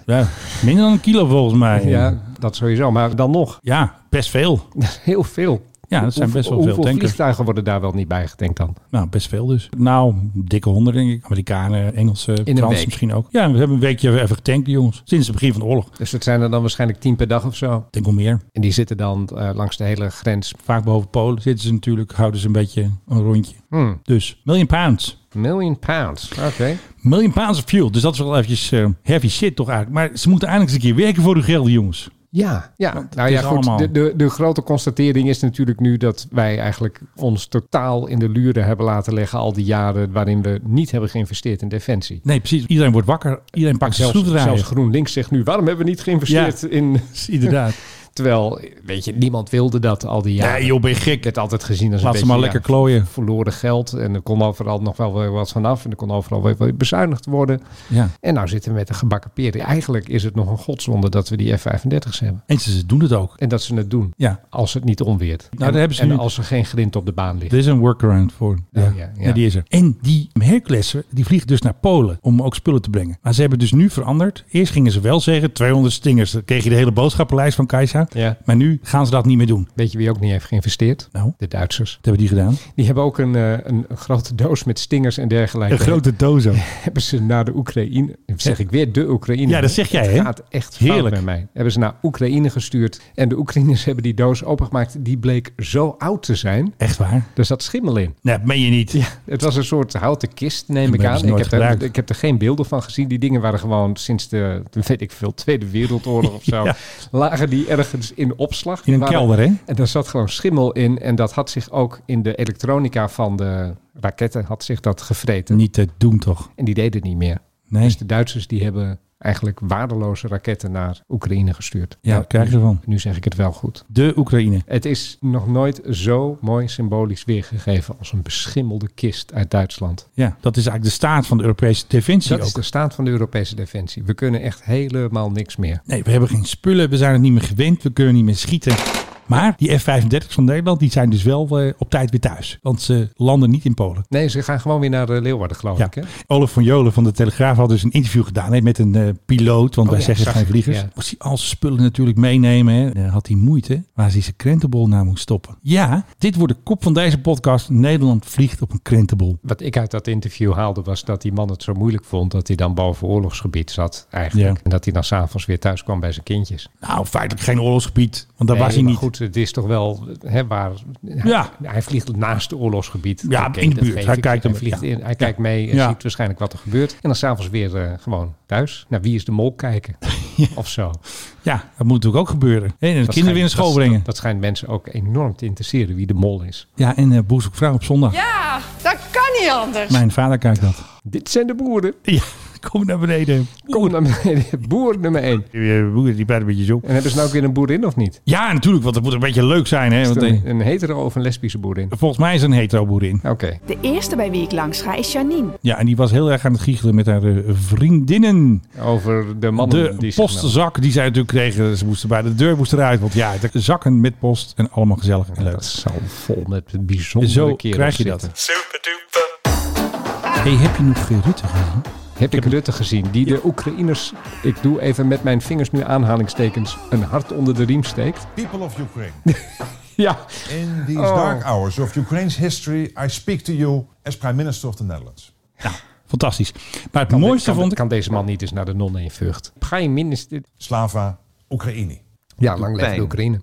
S6: ja, minder dan een kilo volgens mij.
S7: Ja, dat sowieso. Maar dan nog,
S6: Ja, best veel.
S7: (laughs) heel veel.
S6: Ja, dat zijn
S7: Hoeveel-
S6: best wel veel
S7: Hoeveel
S6: tankers.
S7: vliegtuigen worden daar wel niet bij gedenkt dan?
S6: Nou, best veel dus. Nou, dikke honderd denk ik. Amerikanen, Engelsen,
S7: een
S6: Fransen
S7: week.
S6: misschien ook. Ja, we hebben een weekje even getankt, die jongens. Sinds het begin van de oorlog. Ik
S7: Dus dat zijn er dan waarschijnlijk tien per dag of zo.
S6: denk wel meer.
S7: En die zitten dan eh, langs de hele grens.
S6: Vaak boven Polen zitten ze natuurlijk, houden ze een beetje een rondje.
S7: Hmm,
S6: Dus million pounds.
S7: million pounds. Oké.
S6: Million pounds of fuel. Dus dat is wel eventjes eh, heavy shit toch eigenlijk. Maar ze moeten eindelijk eens een keer werken voor hun geld, jongens.
S7: Ja, ja.
S6: Want
S7: nou
S6: het
S7: ja,
S6: is
S7: goed.
S6: allemaal-
S7: De, de, de grote constatering is natuurlijk nu dat wij eigenlijk ons totaal in de luren hebben laten leggen al die jaren waarin we niet hebben geïnvesteerd in defensie.
S6: Nee, precies. Iedereen wordt wakker. Iedereen pakt zijn
S7: Zelfs,
S6: schroevendraaier.
S7: zelfs GroenLinks zegt nu, waarom hebben we niet geïnvesteerd in...
S6: (laughs)
S7: (laughs)
S6: Inderdaad.
S7: Terwijl, weet je, niemand wilde dat al die jaren.
S6: Nee, joh, ben je gek.
S7: Ik werd altijd gezien als
S6: Laat
S7: een
S6: ze
S7: beetje,
S6: maar
S7: ja,
S6: lekker klooien.
S7: verloren geld. En er kon overal nog wel weer wat vanaf. En er kon overal weer wat bezuinigd worden.
S6: Ja.
S7: En nou zitten we met een gebakken peren. Eigenlijk is het nog een godswonde dat we die F-35's hebben.
S6: En ze doen het ook.
S7: En dat ze het doen.
S6: Ja, Nou,
S7: Als het niet onweert.
S6: daar
S7: en
S6: hebben ze
S7: en
S6: nu-
S7: als er geen grind op de baan ligt.
S6: er is een workaround voor. Ja.
S7: ja, ja.
S6: Ja, die is er. En die Herculessen, die vliegen dus naar Polen om ook spullen te brengen. Maar ze hebben dus nu veranderd. Eerst gingen ze wel zeggen 200 stingers. Dan kreeg je de hele boodschappenlijst van Kajsa.
S7: Ja.
S6: Maar nu gaan ze dat niet meer doen.
S7: Weet je wie ook niet heeft geïnvesteerd?
S6: Nou, wat
S7: De Duitsers.
S6: hebben die gedaan?
S7: Die hebben ook een, eh, een, een grote doos met stingers en dergelijke.
S6: Een grote doos ook.
S7: Hebben ze naar de Oekraïne... Zeg ik weer de Oekraïne.
S6: Ja, dat zeg jij,
S7: Het
S6: hè?
S7: gaat echt fout
S6: Heerlijk.
S7: bij mij. Hebben ze naar Oekraïne gestuurd. En de Oekraïners hebben die doos opengemaakt. Die bleek zo oud te zijn.
S6: Echt waar?
S7: Er zat schimmel in.
S6: Nee, dat meen je niet.
S7: Het was een soort houten kist, neem
S6: Die
S7: ik
S6: hebben
S7: aan.
S6: ze
S7: Ik
S6: nooit
S7: heb, er,
S6: gebruikt.
S7: ik heb er geen beelden van gezien. Die dingen waren gewoon sinds de, weet ik veel, Tweede Wereldoorlog
S6: (laughs)
S7: of zo.
S6: Ja.
S7: Lagen die ergens in opslag.
S6: In een
S7: Die waren-
S6: kelder, hè?
S7: En daar zat gewoon schimmel in. En dat had zich ook in de elektronica van de raketten had zich dat gevreten.
S6: Niet te doen toch?
S7: En die deden het niet meer.
S6: Nee.
S7: Dus de Duitsers die hebben eigenlijk waardeloze raketten naar Oekraïne gestuurd.
S6: Ja, wat krijg je ervan?
S7: Nu zeg ik het wel goed.
S6: De Oekraïne.
S7: Het is nog nooit zo mooi symbolisch weergegeven als een beschimmelde kist uit Duitsland.
S6: Ja, dat is eigenlijk de staat van de Europese defensie
S7: Dat
S6: ook.
S7: is de staat van de Europese defensie. We kunnen echt helemaal niks meer.
S6: Nee, we hebben geen spullen, we zijn het niet meer gewend, we kunnen niet meer schieten. Maar die F-35 van Nederland, die zijn dus wel eh, op tijd weer thuis. Want ze landen niet in Polen.
S7: Nee, ze gaan gewoon weer naar eh, Leeuwarden, geloof
S6: Ja.
S7: ik. Hè?
S6: Olaf van Jolen van de Telegraaf had dus een interview gedaan hè, met een eh, piloot. Want
S7: Oh
S6: wij
S7: ja,
S6: zeggen
S7: zag
S6: geen
S7: ik,
S6: vliegers.
S7: ja.
S6: Moest hij al zijn spullen natuurlijk meenemen. Hè. Dan had hij moeite waar hij zijn krentenbol naar moest stoppen. Ja, dit wordt de kop van deze podcast. Nederland vliegt op een krentenbol.
S7: Wat ik uit dat interview haalde was dat die man het zo moeilijk vond dat hij dan boven oorlogsgebied zat eigenlijk.
S6: Ja.
S7: En dat hij dan s'avonds weer thuis kwam bij zijn kindjes.
S6: Nou, feitelijk geen oorlogsgebied. Want daar
S7: Nee,
S6: was hij
S7: maar
S6: niet.
S7: goed, het is toch wel hè, waar... Hij,
S6: Ja.
S7: hij vliegt naast het oorlogsgebied.
S6: Ja,
S7: Oké,
S6: in de
S7: dat
S6: buurt.
S7: geef
S6: Hij
S7: ik.
S6: kijkt
S7: hij,
S6: hem-
S7: vliegt
S6: ja.
S7: in, hij kijkt mee en
S6: Ja.
S7: ziet waarschijnlijk wat er gebeurt. En dan s'avonds weer eh, gewoon thuis. Naar Wie is de Mol
S6: (laughs)
S7: kijken of zo.
S6: Ja, dat moet natuurlijk ook gebeuren. Hè, En de kinderen
S7: Dat
S6: weer
S7: schijnt-
S6: naar school
S7: dat-
S6: brengen.
S7: Dat, dat schijnt mensen ook enorm te interesseren wie de mol is.
S6: Ja, en eh Boer zoekt vrouw op zondag.
S11: Ja, dat kan niet anders.
S6: Mijn vader kijkt dat.
S7: Dit zijn de boeren.
S6: Ja, (laughs) kom naar beneden.
S7: Kom naar beneden. (laughs) Boer nummer één.
S6: Boer, die praat een beetje zo.
S7: En hebben ze nou ook weer een boerin of niet?
S6: Ja, natuurlijk, want het moet een beetje leuk zijn. Hè? Want, eh,
S7: Een, een hetero of een lesbische boerin?
S6: volgens mij is er een hetero boerin.
S7: Oké.
S11: De eerste bij wie ik langs ga is Janine.
S6: Ja, en die was heel erg aan het giechelen met haar eh, vriendinnen.
S7: Over de mannen
S6: De
S7: die zich melden.
S6: postzak die zij natuurlijk kregen. Ze moesten bij de deur moesten eruit. Want ja, de zakken met post en allemaal gezellig en leuk.
S7: Dat zal vol met bijzondere
S6: Zo
S7: kerels
S6: krijg je
S7: zitten.
S6: dat. hey, heb je nog eh, Rutte gezien?
S7: Heb ik Rutte gezien, die de Oekraïners, ik doe even met mijn vingers nu aanhalingstekens, een hart onder de riem steekt?
S3: People of Ukraine.
S7: Ja,
S3: In these
S7: Oh.
S3: dark hours of Ukraine's history, I speak to you as Prime Minister of the Netherlands.
S6: Fantastisch. Maar het mooiste
S7: kan,
S6: vond ik...
S7: kan deze man niet eens naar de nonnen in Vught. Ga je minister...
S3: Slava Oekraïne.
S7: Ja, lang leven
S10: pijn.
S7: de Oekraïne.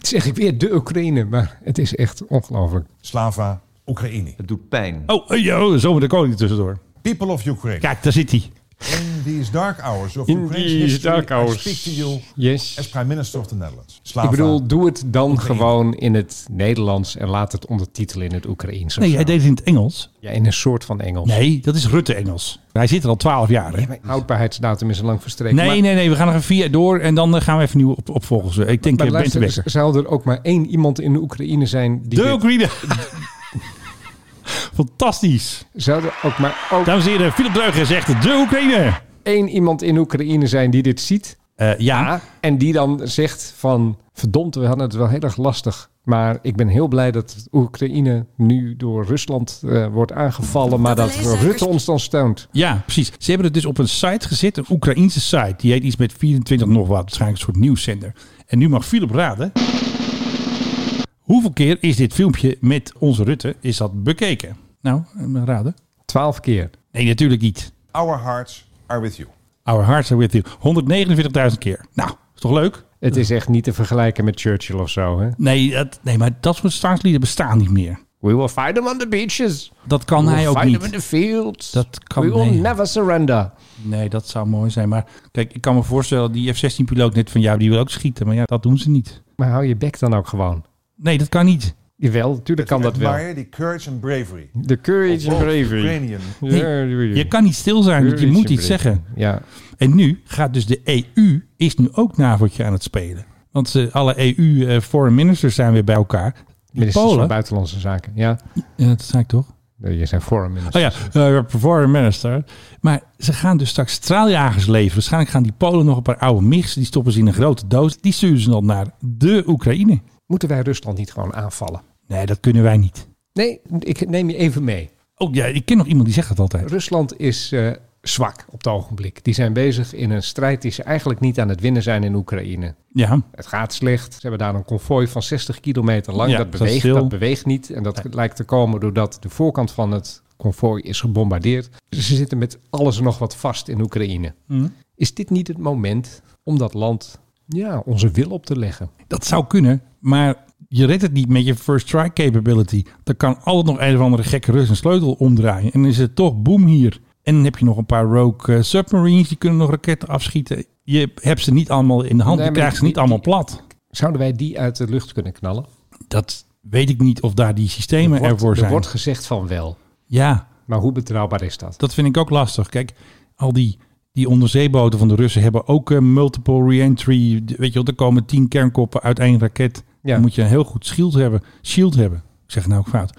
S7: Zeg ik weer de Oekraïne, maar het is echt ongelooflijk.
S3: Slava Oekraïne.
S10: Het doet pijn.
S6: Oh, eh, ja, oh, zo met de koning tussendoor.
S3: People of Ukraine.
S6: Kijk, daar zit hij.
S3: In these dark hours of
S7: In
S3: Ukraine's
S7: these
S3: history,
S7: dark hours.
S3: I speak to you
S7: Yes.
S3: as Prime Minister of the Netherlands. Slava.
S7: Ik bedoel, doe het dan gewoon in het Nederlands en laat het ondertitelen in het Oekraïens. of
S6: Nee,
S7: zo.
S6: hij deed het in het Engels.
S7: ja, in een soort van Engels.
S6: Nee, dat is Rutte Engels. Hij zit er al twaalf jaar. Hè?
S7: Houdbaarheidsdatum is al lang verstreken.
S6: Nee,
S7: maar-
S6: nee, nee. We gaan nog even vier door en dan eh, gaan we even nieuw op, opvolgen. Zo, Ik denk
S7: Maar
S6: eh, Ben te
S7: luister, dus
S6: Bekker.
S7: er zou er ook maar één iemand in de Oekraïne zijn die
S6: De
S7: dit-
S6: Oekraïne. Fantastisch.
S7: zou er ook maar ook
S6: Dames en heren, Philip Dreugen zegt de Oekraïne.
S7: één iemand in Oekraïne zijn die dit ziet.
S6: Eh, ja,
S7: En die dan zegt van verdomd, we hadden het wel heel erg lastig. Maar ik ben heel blij dat Oekraïne nu door Rusland eh, wordt aangevallen. Maar dat Rutte ons dan steunt.
S6: ja, precies. Ze hebben het dus op een site gezet, een Oekraïense site. Die heet iets met 24 nog wat, waarschijnlijk een soort nieuwszender. En nu mag Philip raden. Hoeveel keer is dit filmpje met onze Rutte, is dat bekeken? Nou, eh, raden.
S7: Twaalf keer.
S6: Nee, natuurlijk niet.
S3: Our hearts are with you.
S6: Our hearts are with you. 149.000 keer. Nou, is toch leuk?
S7: Het is echt niet te vergelijken met Churchill of zo. Hè?
S6: Nee, dat, nee maar dat soort staatslieden bestaan niet meer.
S7: We will fight them on the beaches.
S6: Dat kan
S7: We
S6: hij
S7: will
S6: ook
S7: fight them in
S6: niet.
S7: the fields.
S6: Dat kan
S7: We will
S6: hij.
S7: never surrender.
S6: Nee, dat zou mooi zijn. Maar kijk, ik kan me voorstellen, die F-16-piloot net van jou, die wil ook schieten. Maar ja, dat doen ze niet.
S7: Maar hou je bek dan ook gewoon.
S6: Nee, dat kan niet.
S7: Jawel, natuurlijk kan dat wel.
S3: Admire die courage and bravery.
S7: De courage
S3: Of
S7: and
S3: both
S7: bravery.
S3: Ukrainian.
S6: Nee, je kan niet stil zijn, want je
S7: Courage
S6: moet
S7: and
S6: iets
S7: bravery.
S6: zeggen.
S7: Ja,
S6: En nu gaat dus de EU, is nu ook NAVO'tje aan het spelen. Want ze, alle E EU-foreign ministers zijn weer bij elkaar. Die
S7: ministers van
S6: Polen,
S7: Buitenlandse Zaken. Ja,
S6: ja, dat zei ik toch?
S7: Nee, je zijn forum
S6: Oh
S7: minister.
S6: ja, eh, foreign minister. Maar ze gaan dus straks straaljagers leveren. Waarschijnlijk gaan die Polen nog een paar oude MIGs. Die stoppen ze in een grote doos. Die sturen ze dan naar de Oekraïne.
S7: Moeten wij Rusland niet gewoon aanvallen?
S6: Nee, dat kunnen wij niet.
S7: Nee, ik neem je even mee.
S6: Oh ja, ik ken nog iemand die zegt dat altijd.
S7: Rusland is eh, zwak op het ogenblik. Die zijn bezig in een strijd die ze eigenlijk niet aan het winnen zijn in Oekraïne.
S6: Ja,
S7: Het gaat slecht. Ze hebben daar een konvooi van 60 kilometer lang.
S6: Ja,
S7: dat,
S6: dat
S7: beweegt,
S6: is veel.
S7: dat beweegt niet. En dat lijkt te komen doordat de voorkant van het konvooi is gebombardeerd. Ze zitten met alles en nog wat vast in Oekraïne.
S6: Mhm.
S7: Is dit niet het moment om dat land ja, onze wil op te leggen?
S6: dat zou kunnen. Maar je redt het niet met je first try capability. Dan kan altijd nog een of andere gekke Rus een sleutel omdraaien. En dan is het toch boem hier. En dan heb je nog een paar rogue eh, submarines. Die kunnen nog raketten afschieten. Je hebt ze niet allemaal in de hand.
S7: Nee,
S6: je
S7: maar
S6: krijgt ze
S7: die-
S6: niet allemaal plat.
S7: Zouden wij die uit de lucht kunnen knallen?
S6: Dat weet ik niet of daar die systemen
S7: Er wordt-
S6: ervoor
S7: er
S6: zijn.
S7: wordt gezegd van wel.
S6: Ja,
S7: Maar hoe betrouwbaar is dat?
S6: dat vind ik ook lastig. Kijk, al die, die onderzeeboten van de Russen hebben ook eh, multiple re-entry. De- Weet je wel, er komen tien kernkoppen uit één raket.
S7: Ja.
S6: Dan moet je een heel goed shield hebben. Shield hebben. Ik zeg het nou ook fout.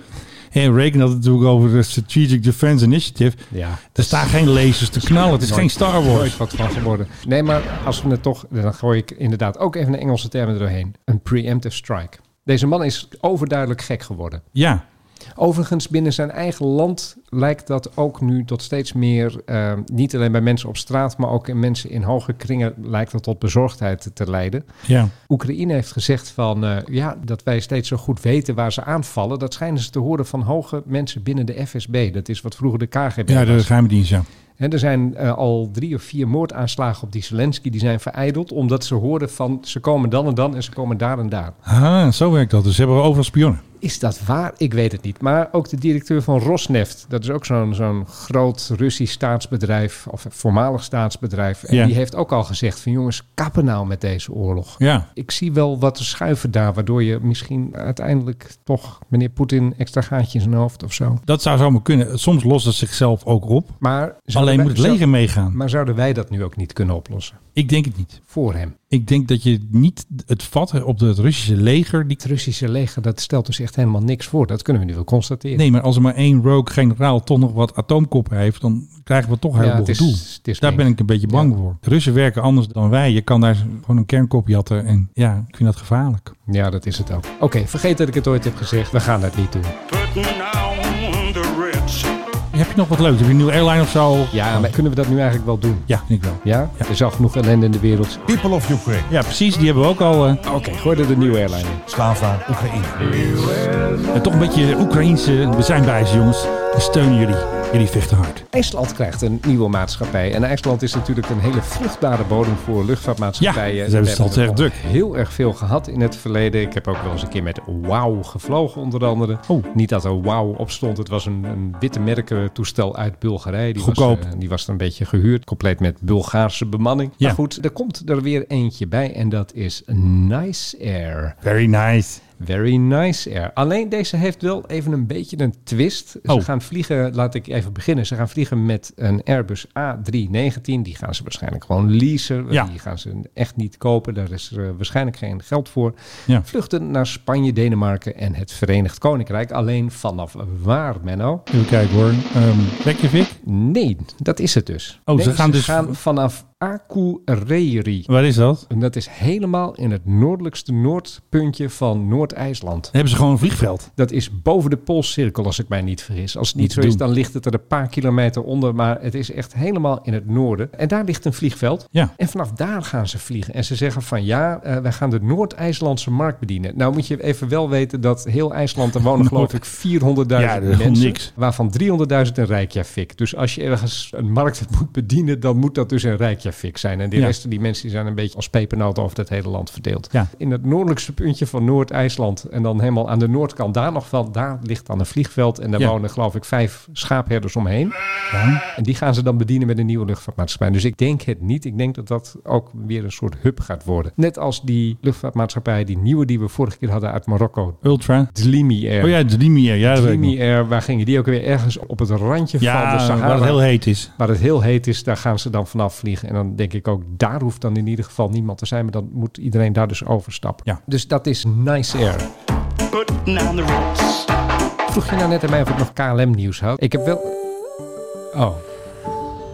S6: En Reagan had het natuurlijk over de Strategic Defense Initiative.
S7: Ja.
S6: Er staan geen lasers te knallen. Het is geen Star
S7: Nooit
S6: Wars.
S7: wat van geworden. Nee, maar als we het toch... Dan gooi ik inderdaad ook even de Engelse termen erdoorheen. Een preemptive strike. Deze man is overduidelijk gek geworden.
S6: Ja,
S7: Overigens, binnen zijn eigen land lijkt dat ook nu tot steeds meer... eh, niet alleen bij mensen op straat, maar ook in mensen in hoge kringen... lijkt dat tot bezorgdheid te leiden.
S6: ja.
S7: Oekraïne heeft gezegd van... eh, ja, dat wij steeds zo goed weten waar ze aanvallen. Dat schijnen ze te horen van hoge mensen binnen de FSB. Dat is wat vroeger de KGB
S6: Ja, de
S7: was.
S6: geheime dienst, ja.
S7: Hè, er zijn eh, al drie of vier moordaanslagen op die Zelensky. Die zijn vereideld omdat ze hoorden van ze komen dan en dan en ze komen daar en daar.
S6: Ah, zo werkt dat. Dus ze hebben we overal spionnen.
S7: Is dat waar? Ik weet het niet. Maar ook de directeur van Rosneft. Dat is ook zo'n zo'n groot Russisch staatsbedrijf of voormalig staatsbedrijf. En
S6: Ja.
S7: die heeft ook al gezegd van jongens kappen nou met deze oorlog.
S6: Ja,
S7: Ik zie wel wat te schuiven daar, waardoor je misschien uiteindelijk toch meneer Poetin extra gaatje in zijn hoofd of zo.
S6: dat zou zomaar kunnen. Soms lost het zichzelf ook op.
S7: Maar zouden
S6: Alleen
S7: wij-
S6: moet het leger
S7: zou-
S6: meegaan.
S7: Maar zouden wij dat nu ook niet kunnen oplossen?
S6: Ik denk het niet.
S7: Voor hem.
S6: Ik denk dat je niet het vat op het Russische leger. Die...
S7: Het Russische leger, dat stelt dus echt helemaal niks voor. Dat kunnen we nu wel constateren.
S6: Nee, maar als er maar één rogue generaal toch nog wat atoomkoppen heeft, dan krijgen we toch heel
S7: Ja,
S6: veel
S7: het is-
S6: gedoe.
S7: het is
S6: Daar
S7: mengen.
S6: ben ik een beetje bang
S7: Ja.
S6: voor. De Russen werken anders dan wij. Je kan daar gewoon een kernkop jatten en ja, ik vind dat gevaarlijk.
S7: Ja, dat is het ook. Oké, vergeet dat ik het ooit heb gezegd. We gaan dat niet doen.
S6: Heb je nog wat leuks? Heb je een nieuwe airline of zo?
S7: Ja, maar kunnen we dat nu eigenlijk wel doen?
S6: Ja, vind ik wel.
S7: Ja?
S6: Oh. Ja.
S7: Er is al genoeg ellende in de wereld.
S3: People of Ukraine.
S6: Ja, precies. Die hebben we ook al. eh,
S7: Oké, gooi er de nieuwe airline in.
S3: Slava Oekraïne.
S6: en toch een beetje Oekraïense. We zijn bij ze, jongens. We steunen jullie. Jullie vechten hard.
S7: IJsland krijgt een nieuwe maatschappij. En IJsland is natuurlijk een hele vruchtbare bodem voor luchtvaartmaatschappijen.
S6: Ja, ze hebben
S7: We
S6: het altijd
S7: er
S6: erg
S7: al Heel erg veel gehad in het verleden. Ik heb ook wel eens een keer met Wow gevlogen, onder andere.
S6: Oh.
S7: Niet dat er Wow op stond. Het was een, een witte merkentoestel uit Bulgarije. Die
S6: Goedkoop.
S7: Was, eh, die was er een beetje gehuurd, compleet met Bulgaarse bemanning.
S6: Ja.
S7: Maar goed, er komt er weer eentje bij en dat is Nice Air.
S6: Very nice.
S7: Very nice air. Alleen deze heeft wel even een beetje een twist. Ze
S6: Oh.
S7: gaan vliegen, laat ik even beginnen. Ze gaan vliegen met een Airbus A319. Die gaan ze waarschijnlijk gewoon leasen.
S6: Ja.
S7: Die gaan ze echt niet kopen. Daar is er eh, waarschijnlijk geen geld voor.
S6: Ja.
S7: Vluchten naar Spanje, Denemarken en het Verenigd Koninkrijk. Alleen vanaf waar, Menno?
S6: Even kijken hoor. Ehm Reykjavik?
S7: Nee, dat is het dus.
S6: Oh, ze
S7: Nee,
S6: gaan dus-
S7: gaan vanaf Akureyri.
S6: Waar is dat?
S7: En dat is helemaal in het noordelijkste noordpuntje van Noord-IJsland.
S6: Dan hebben ze gewoon een vliegveld.
S7: Dat is boven de Poolcirkel, als ik mij niet vergis. Als het niet
S6: Niet
S7: zo is,
S6: doen.
S7: dan ligt het er een paar kilometer onder. Maar het is echt helemaal in het noorden. En daar ligt een vliegveld.
S6: Ja.
S7: En vanaf daar gaan ze vliegen. En ze zeggen van ja, eh, wij gaan de Noord-IJslandse markt bedienen. Nou moet je even wel weten dat heel IJsland, er
S6: (laughs)
S7: wonen geloof ik 400.000
S6: Ja, dat is
S7: mensen.
S6: gewoon niks.
S7: (laughs) Waarvan 300.000 in Reykjavik. Dus als je ergens een markt moet bedienen, dan moet dat dus in Reykjavik fik zijn. En die
S6: Ja.
S7: resten, die mensen die zijn een beetje als pepernoten over het hele land verdeeld.
S6: Ja.
S7: In het noordelijkste puntje van Noord-IJsland en dan helemaal aan de noordkant daar nog wel, daar ligt dan een vliegveld. En daar
S6: Ja.
S7: wonen geloof ik vijf schaapherders omheen. En die gaan ze dan bedienen met een nieuwe luchtvaartmaatschappij. Dus ik denk het niet. Ik denk dat dat ook weer een soort hub gaat worden. Net als die luchtvaartmaatschappij, die nieuwe die we vorige keer hadden uit Marokko.
S6: Ultra.
S7: Dlimi Air.
S6: Oh ja, Dreamy Air. Ja, dat weet ik nog.
S7: Dreamy Air, waar gingen die ook weer ergens op het randje van
S6: Ja,
S7: de Sahara?
S6: waar het heel heet is.
S7: Waar het heel heet is, daar gaan ze dan vanaf vliegen. En dan denk ik ook, daar hoeft dan in ieder geval niemand te zijn. Maar dan moet iedereen daar dus overstappen.
S6: Ja.
S7: Dus dat is nice air. Vroeg je nou net aan mij of ik nog KLM nieuws had? Ik heb wel... Oh.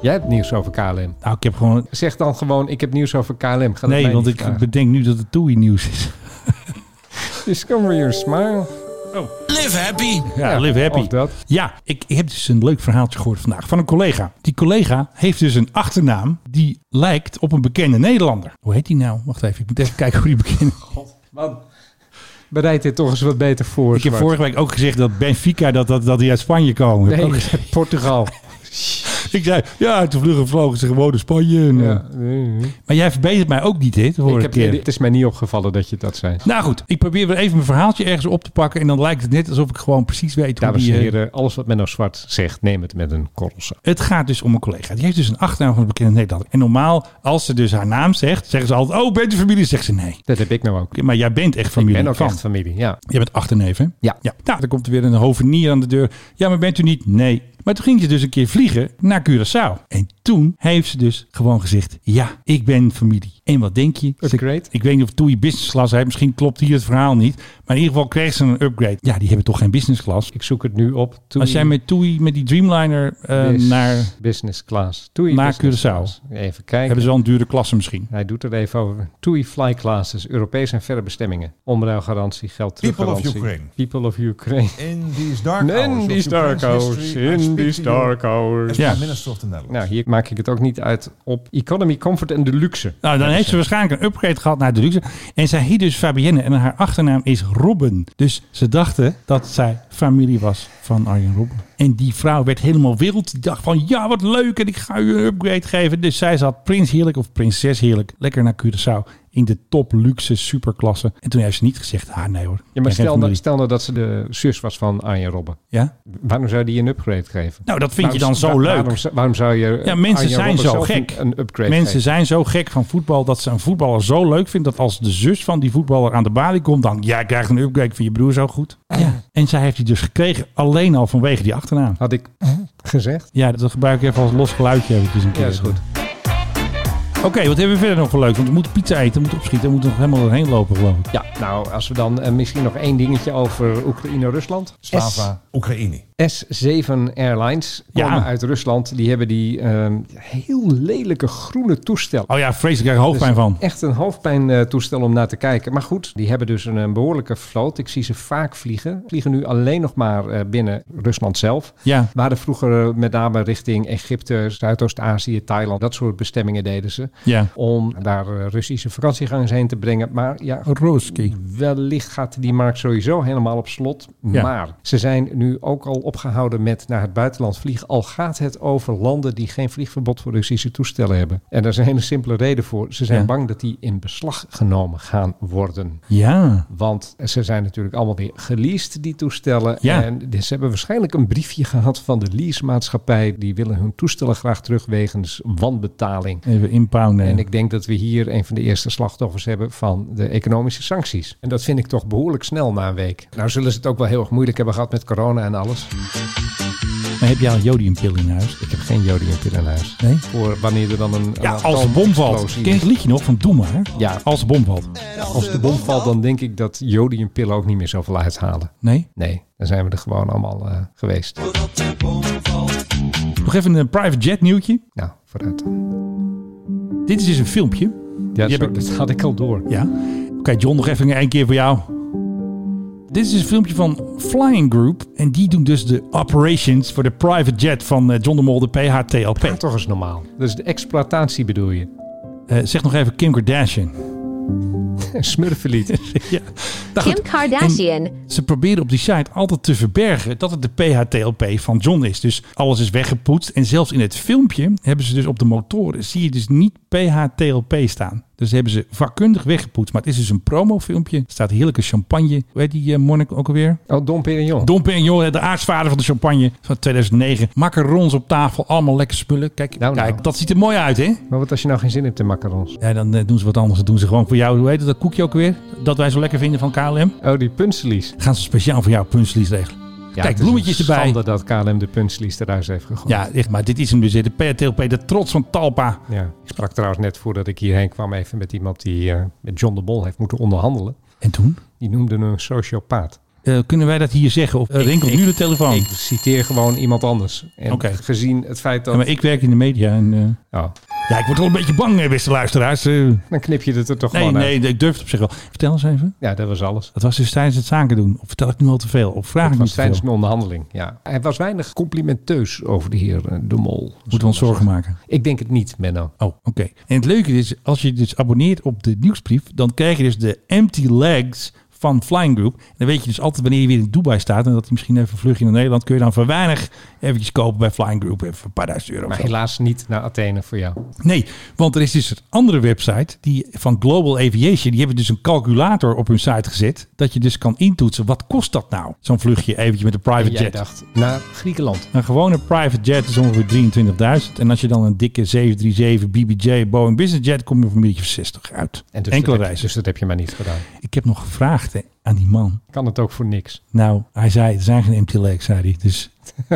S7: Jij hebt nieuws over KLM.
S6: Nou, ik heb gewoon...
S7: Zeg dan gewoon, ik heb nieuws over KLM. Ga dat mij
S6: Nee, want
S7: niet
S6: ik
S7: vragen.
S6: bedenk nu dat het Toei nieuws is.
S7: Discover your smile.
S6: Ja, live happy.
S7: Oh. Of dat.
S6: Ja, ik heb dus een leuk verhaaltje gehoord vandaag van een collega. Die collega heeft dus een achternaam die lijkt op een bekende Nederlander. Hoe heet die nou? Wacht even, ik moet even kijken hoe die bekende...
S7: Oh, Bereid dit toch eens wat beter voor.
S6: Ik heb
S7: Zwart.
S6: vorige week ook gezegd dat Benfica, dat, dat, dat die uit Spanje komen. Heb ik ook
S7: (laughs)
S6: gezegd.
S7: Nee, Portugal.
S6: (laughs) Ik zei, ja, toen vluggen vlogen ze gewoon naar Spanje. En, eh.
S7: Ja.
S6: Maar jij verbetert mij ook niet, hè, de vorige
S7: Ik heb,
S6: keer.
S7: het is mij niet opgevallen dat je dat zei.
S6: Nou goed, ik probeer weer even mijn verhaaltje ergens op te pakken. En dan lijkt het net alsof ik gewoon precies weet hoe
S7: Dames
S6: die...
S7: en
S6: eh,
S7: heren, alles wat Menno Zwart zegt, neem het met een korrel zout.
S6: Het gaat dus om een collega. Die heeft dus een achternaam van een bekende Nederlander. En normaal, als ze dus haar naam zegt, zeggen ze altijd... Oh, bent u familie? Zegt ze nee.
S7: Dat heb ik nou ook.
S6: Oké, Maar jij bent echt
S7: Ik
S6: familie
S7: ben ook
S6: van.
S7: echt familie, ja.
S6: Je bent achterneef, hè?
S7: Ja.
S6: ja. Nou, dan komt er weer een hovenier aan de deur. Ja, maar bent u niet? Nee. Maar toen ging ze dus een keer vliegen naar Curaçao. En toen heeft ze dus gewoon gezegd... Ja, ik ben familie. En wat denk je? Ze-
S7: Upgrade?
S6: Ik weet niet of Toei business class heeft. Misschien klopt hier het verhaal niet. Maar in ieder geval kreeg ze een upgrade. Ja, die hebben toch geen business class?
S7: Ik zoek het nu op. Toei
S6: Als jij met Toei, met die Dreamliner eh,
S7: Bus-
S6: naar...
S7: Business Class. Toei
S6: Naar
S7: business
S6: Curaçao.
S7: class. Even kijken.
S6: Hebben ze wel een dure klasse misschien?
S7: Hij doet er even over. TUI Fly Classes, Europees en verre bestemmingen. Omruilgarantie, geld
S3: People of
S7: teruggarantie.
S3: Ukraine.
S7: People of Ukraine.
S3: In these dark
S7: In these dark hours, in these dark hours.
S6: Ja.
S3: Ja. Minister of the Netherlands.
S7: Nou, hier maak ik het ook niet uit op economy, comfort en deluxe.
S6: Nou, dan heeft ze
S7: dus-
S6: waarschijnlijk een upgrade gehad naar de luxe. En zij heet dus Fabienne en haar achternaam is Robben. Dus ze dachten dat zij familie was van Arjen Robben. En die vrouw werd helemaal wild. Die dacht van, ja, wat leuk en ik ga u een upgrade geven. Dus zij zat prins heerlijk of prinses heerlijk lekker naar Curaçao in de top luxe superklasse. En toen heeft ze niet gezegd, ah nee hoor.
S7: Ja, maar
S6: ik ben geen
S7: stel, nou-
S6: familie.
S7: stel nou dat ze de zus was van Arjen Robben.
S6: Ja?
S7: Waarom zou die een upgrade geven?
S6: Nou, dat vind je dan
S7: Waarom-
S6: zo
S7: wa-
S6: leuk.
S7: Waarom, zou- waarom zou je
S6: Ja, mensen
S7: Arjen
S6: zijn
S7: Eh, Robben
S6: zo
S7: zelf
S6: gek.
S7: Een, een upgrade
S6: mensen
S7: geven?
S6: zijn zo gek van voetbal dat ze een voetballer zo leuk vinden dat als de zus van die voetballer aan de balie komt, dan ja, krijgt een upgrade van je broer zo goed. Ja. En zij heeft die dus gekregen alleen al vanwege die achternaam.
S7: Had ik gezegd?
S6: Ja, dat gebruik ik even als los geluidje eventjes een keer.
S7: Ja, is goed.
S6: Oké, wat hebben we verder nog voor leuk? Want we moeten pizza eten, we moeten opschieten, we moeten nog helemaal doorheen lopen geloof ik.
S7: Ja, nou, als we dan eh, misschien nog één dingetje over Oekraïne-Rusland.
S3: Slava, Oekraïne.
S7: S7 Airlines
S6: Ja.
S7: komen uit Rusland. Die hebben die ehm, heel lelijke groene toestel.
S6: Oh ja, vreselijk, ik krijg er hoofdpijn
S7: Dus
S6: van.
S7: Echt een hoofdpijn eh, toestel om naar te kijken. Maar goed, die hebben dus een, eh, behoorlijke vloot. Ik zie ze vaak vliegen. Vliegen nu alleen nog maar eh, binnen Rusland zelf.
S6: Ja.
S7: Waren vroeger eh, met name richting Egypte, Zuidoost-Azië, Thailand. Dat soort bestemmingen deden ze.
S6: Ja.
S7: Om daar eh, Russische vakantiegangers heen te brengen. Maar ja,
S6: Roski.
S7: Wellicht gaat die markt sowieso helemaal op slot.
S6: Ja.
S7: Maar ze zijn nu ook al opgehouden met naar het buitenland vliegen. Al gaat het over landen die geen vliegverbod voor Russische toestellen hebben. En daar is een hele simpele reden voor. Ze zijn
S6: Ja.
S7: bang dat die in beslag genomen gaan worden.
S6: Ja.
S7: Want ze zijn natuurlijk allemaal weer geleased, die toestellen.
S6: Ja.
S7: En dus ze hebben waarschijnlijk een briefje gehad van de leasemaatschappij. Die willen hun toestellen graag terug wegens wanbetaling.
S6: Even eh. inpounden.
S7: En ik denk dat we hier een van de eerste slachtoffers hebben van de economische sancties. En dat vind ik toch behoorlijk snel na een week. Nou zullen ze het ook wel heel erg moeilijk hebben gehad met corona en alles.
S6: Maar heb jij al een jodiumpil in huis?
S7: Ik heb geen jodiumpil in huis.
S6: Nee?
S7: Voor wanneer er dan een...
S6: Ja,
S7: een
S6: als de bom valt.
S7: atoomexplosie
S6: Ken je het liedje nog van Doe maar?
S7: Ja.
S6: Als de bom valt.
S7: Als de bom valt, dan denk ik dat jodiumpillen ook niet meer zoveel uithalen.
S6: Nee?
S7: Nee, dan zijn we er gewoon allemaal eh, geweest.
S6: Nog even een private jet nieuwtje.
S7: Nou, vooruit.
S6: Dit is dus een filmpje.
S7: Ja,
S6: Die
S7: zo,
S6: heb ik-
S7: dat had ik al door.
S6: Ja. Oké, John, nog even één keer voor jou. Dit is een filmpje van Flying Group. En die doen dus de operations voor de private jet van eh, John de Mol, de PHTLP.
S7: Maar toch eens normaal. Dus de exploitatie bedoel je. (laughs)
S6: Eh, zeg nog even Kim Kardashian. Nou
S7: Smurfenlied.
S6: (laughs) ja. Nou,
S1: Kim
S6: goed.
S1: Kardashian.
S6: Ze proberen op die site altijd te verbergen dat het de PHTLP van John is. Dus alles is weggepoetst. En zelfs in het filmpje hebben ze dus op de motoren... zie je dus niet PHTLP staan. Dus hebben ze vakkundig weggepoetst. Maar het is dus een promofilmpje. Er staat heerlijke champagne. Hoe heet die eh, monnik ook alweer?
S7: Oh, Dom Perignon.
S6: Dom Perignon, de aartsvader van de champagne van 2009. Macarons op tafel, allemaal lekker spullen. Kijk,
S7: Nou, nou.
S6: kijk dat ziet er mooi uit, hè?
S7: Maar wat als je nou geen zin hebt in macarons?
S6: Ja, dan eh, doen ze wat anders. Dan doen ze gewoon voor jou, hoe heet dat koekje ook weer? Dat wij zo lekker vinden van KLM.
S7: Oh, die punselies.
S6: Gaan ze speciaal voor jou puntslies regelen.
S7: Ja,
S6: Kijk,
S7: het is
S6: bloemetjes
S7: een
S6: erbij.
S7: schande dat KLM de punselies eruit heeft gegooid.
S6: Ja, echt, maar dit is hem dus. hè. De PTLP, de trots van Talpa.
S7: Ja. Ik sprak trouwens net voordat ik hierheen kwam even met iemand die eh, met John de Mol heeft moeten onderhandelen.
S6: En toen?
S7: Die noemde hem een sociopaat.
S6: Eh, kunnen wij dat hier zeggen? Of eh, rinkelt nu de telefoon?
S7: Ik citeer gewoon iemand anders. En
S6: Oké.
S7: gezien het feit dat...
S6: Ja, maar ik werk in de media en... eh,
S7: Oh,
S6: ja, ik word wel een beetje bang, eh, beste luisteraars. Eh,
S7: dan knip je het er toch
S6: nee,
S7: gewoon
S6: nee,
S7: uit.
S6: ik durf het op zich wel. Vertel eens even.
S7: Ja, dat was alles.
S6: Dat was dus tijdens het zaken doen. Of vertel ik nu al te veel? Of vraag
S7: Het
S6: ik niet
S7: was
S6: te veel?
S7: tijdens een onderhandeling, ja. Hij was weinig complimenteus over de heer eh, de Mol.
S6: Moeten we ons zorgen maken?
S7: Ik denk het niet, Menno.
S6: Oh, oké. En het leuke is, als je dus abonneert op de nieuwsbrief, dan krijg je dus de empty legs van Flying Group. En dan weet je dus altijd wanneer je weer in Dubai staat en dat hij misschien even een vluchtje naar Nederland, kun je dan voor weinig eventjes kopen bij Flying Group, even een paar duizend euro. of
S7: Maar
S6: zo.
S7: helaas niet naar Athene voor jou.
S6: Nee, want er is dus een andere website die van Global Aviation. Die hebben dus een calculator op hun site gezet. Dat je dus kan intoetsen. Wat kost dat nou? Zo'n vluchtje eventjes met een
S7: En
S6: private
S7: jij
S6: jet.
S7: dacht naar Griekenland.
S6: Een gewone private jet is ongeveer 23.000. En als je dan een dikke 737 BBJ Boeing Business Jet... kom je op een beetje of 60 uit.
S7: En dus
S6: Enkele
S7: dat heb-
S6: reizen.
S7: Dus dat heb je maar niet gedaan.
S6: Ik heb nog gevraagd hè, aan die man.
S7: Kan het ook voor niks.
S6: Nou, hij zei, er zijn geen empty legs, zei hij. Dus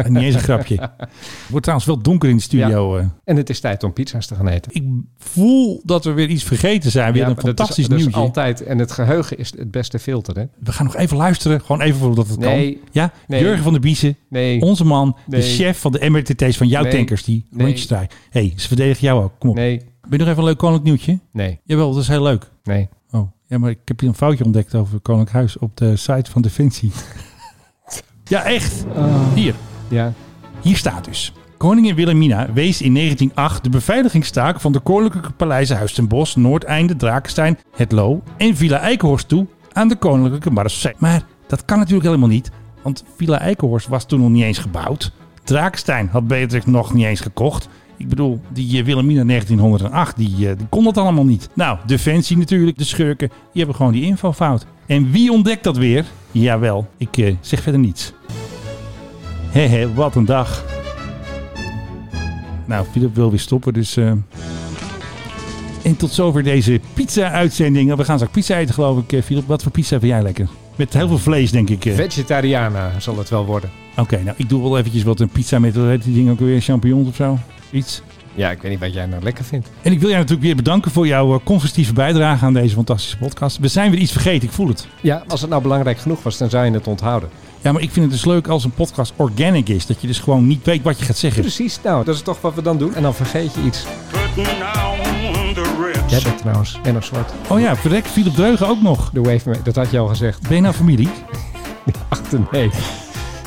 S6: niet eens een grapje.
S7: (laughs)
S6: Het wordt trouwens wel donker in de studio. eh.
S7: En het is tijd om pizza's te gaan eten.
S6: Ik voel dat we weer iets vergeten zijn. Weer
S7: Ja,
S6: een
S7: maar dat is-
S6: fantastisch
S7: dat is
S6: nieuwtje.
S7: altijd, en het geheugen is het beste filter, hè?
S6: We gaan nog even luisteren. Gewoon even voordat het
S7: Nee.
S6: kan. Ja?
S7: Nee.
S6: Jurgen van der Biezen,
S7: Nee.
S6: onze man,
S7: Nee.
S6: de chef van de MRTT's van jouw
S7: Nee.
S6: tankers, die
S7: Nee.
S6: rondjes draaien. Hé, hey, ze verdedigen jou ook. Kom op.
S7: Nee,
S6: Ben je nog even een leuk koninklijk nieuwtje?
S7: nee,
S6: Jawel, dat is heel leuk.
S7: nee.
S6: Oh, ja, maar ik heb hier een foutje ontdekt over Koninklijk Huis op de site van Defensie. ja, echt. Hier.
S7: Ja,
S6: Hier staat dus. Koningin Wilhelmina wees in 1908 de beveiligingstaak van de koninklijke paleizen Huis ten Bosch, Noordeinde, Drakenstein, Het Loo en Villa Eikenhorst toe aan de koninklijke marseille. Maar dat kan natuurlijk helemaal niet, want Villa Eikenhorst was toen nog niet eens gebouwd. Drakenstein had Beatrix nog niet eens gekocht. Ik bedoel, die eh, Wilhelmina 1908, die, eh, die kon dat allemaal niet. Nou, Defensie natuurlijk, de schurken, die hebben gewoon die info fout. En wie ontdekt dat weer? Jawel, ik eh, zeg verder niets. Hé, hé, wat een dag. Nou, Philip wil weer stoppen, dus... eh. En tot zover deze pizza-uitzending. Nou, We gaan straks pizza eten, geloof ik, eh, Philip. Wat voor pizza vind jij lekker? Met heel veel vlees, denk ik. eh.
S7: vegetariana zal het wel worden.
S6: Oké, nou, ik doe wel eventjes wat een pizza met, wat heet die ding ook weer, champignons of zo? Iets.
S7: Ja, ik weet niet wat jij nou lekker vindt.
S6: En ik wil jij natuurlijk weer bedanken voor jouw eh, constructieve bijdrage aan deze fantastische podcast. We zijn weer iets vergeten, ik voel het.
S7: Ja, als het nou belangrijk genoeg was, dan zou je het onthouden.
S6: Ja, maar ik vind het dus leuk als een podcast organic is. Dat je dus gewoon niet weet wat je gaat zeggen.
S7: Precies, nou, dat is toch wat we dan doen. En dan vergeet je iets. Jij bent trouwens en nog zwart.
S6: Oh ja, verrek, Philip Dreugen ook nog.
S7: Doe even mee, dat had je al gezegd.
S6: Ben je nou familie?
S7: Achter nee.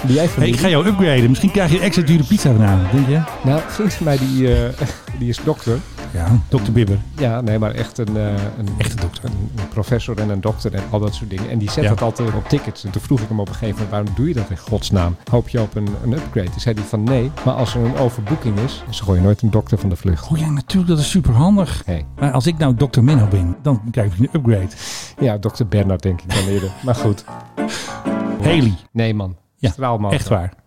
S7: Die jij
S6: Hey, ik ga jou upgraden. Misschien krijg je een extra dure pizza vanavond, denk je?
S7: Nou, vriend van mij die, eh, (laughs) die is dokter.
S6: Ja, dokter Bibber.
S7: Ja, nee, maar echt een, eh, een,
S6: Echt een dokter.
S7: een, een professor en een dokter en al dat soort dingen. En die zet
S6: Ja.
S7: dat altijd op tickets. En toen vroeg ik hem op een gegeven moment, waarom doe je dat in godsnaam? Hoop je op een, een upgrade? Toen zei hij van nee, maar als er een overboeking is, dan gooi je nooit een dokter van de vlucht.
S6: Oh ja, natuurlijk, dat is superhandig.
S7: Hey.
S6: Maar als ik nou dokter Menno ben, dan krijg ik een upgrade.
S7: Ja, dokter Bernard denk ik dan eerder. Maar goed.
S6: Haley,
S7: Nee man,
S6: Ja,
S7: straalman.
S6: echt waar.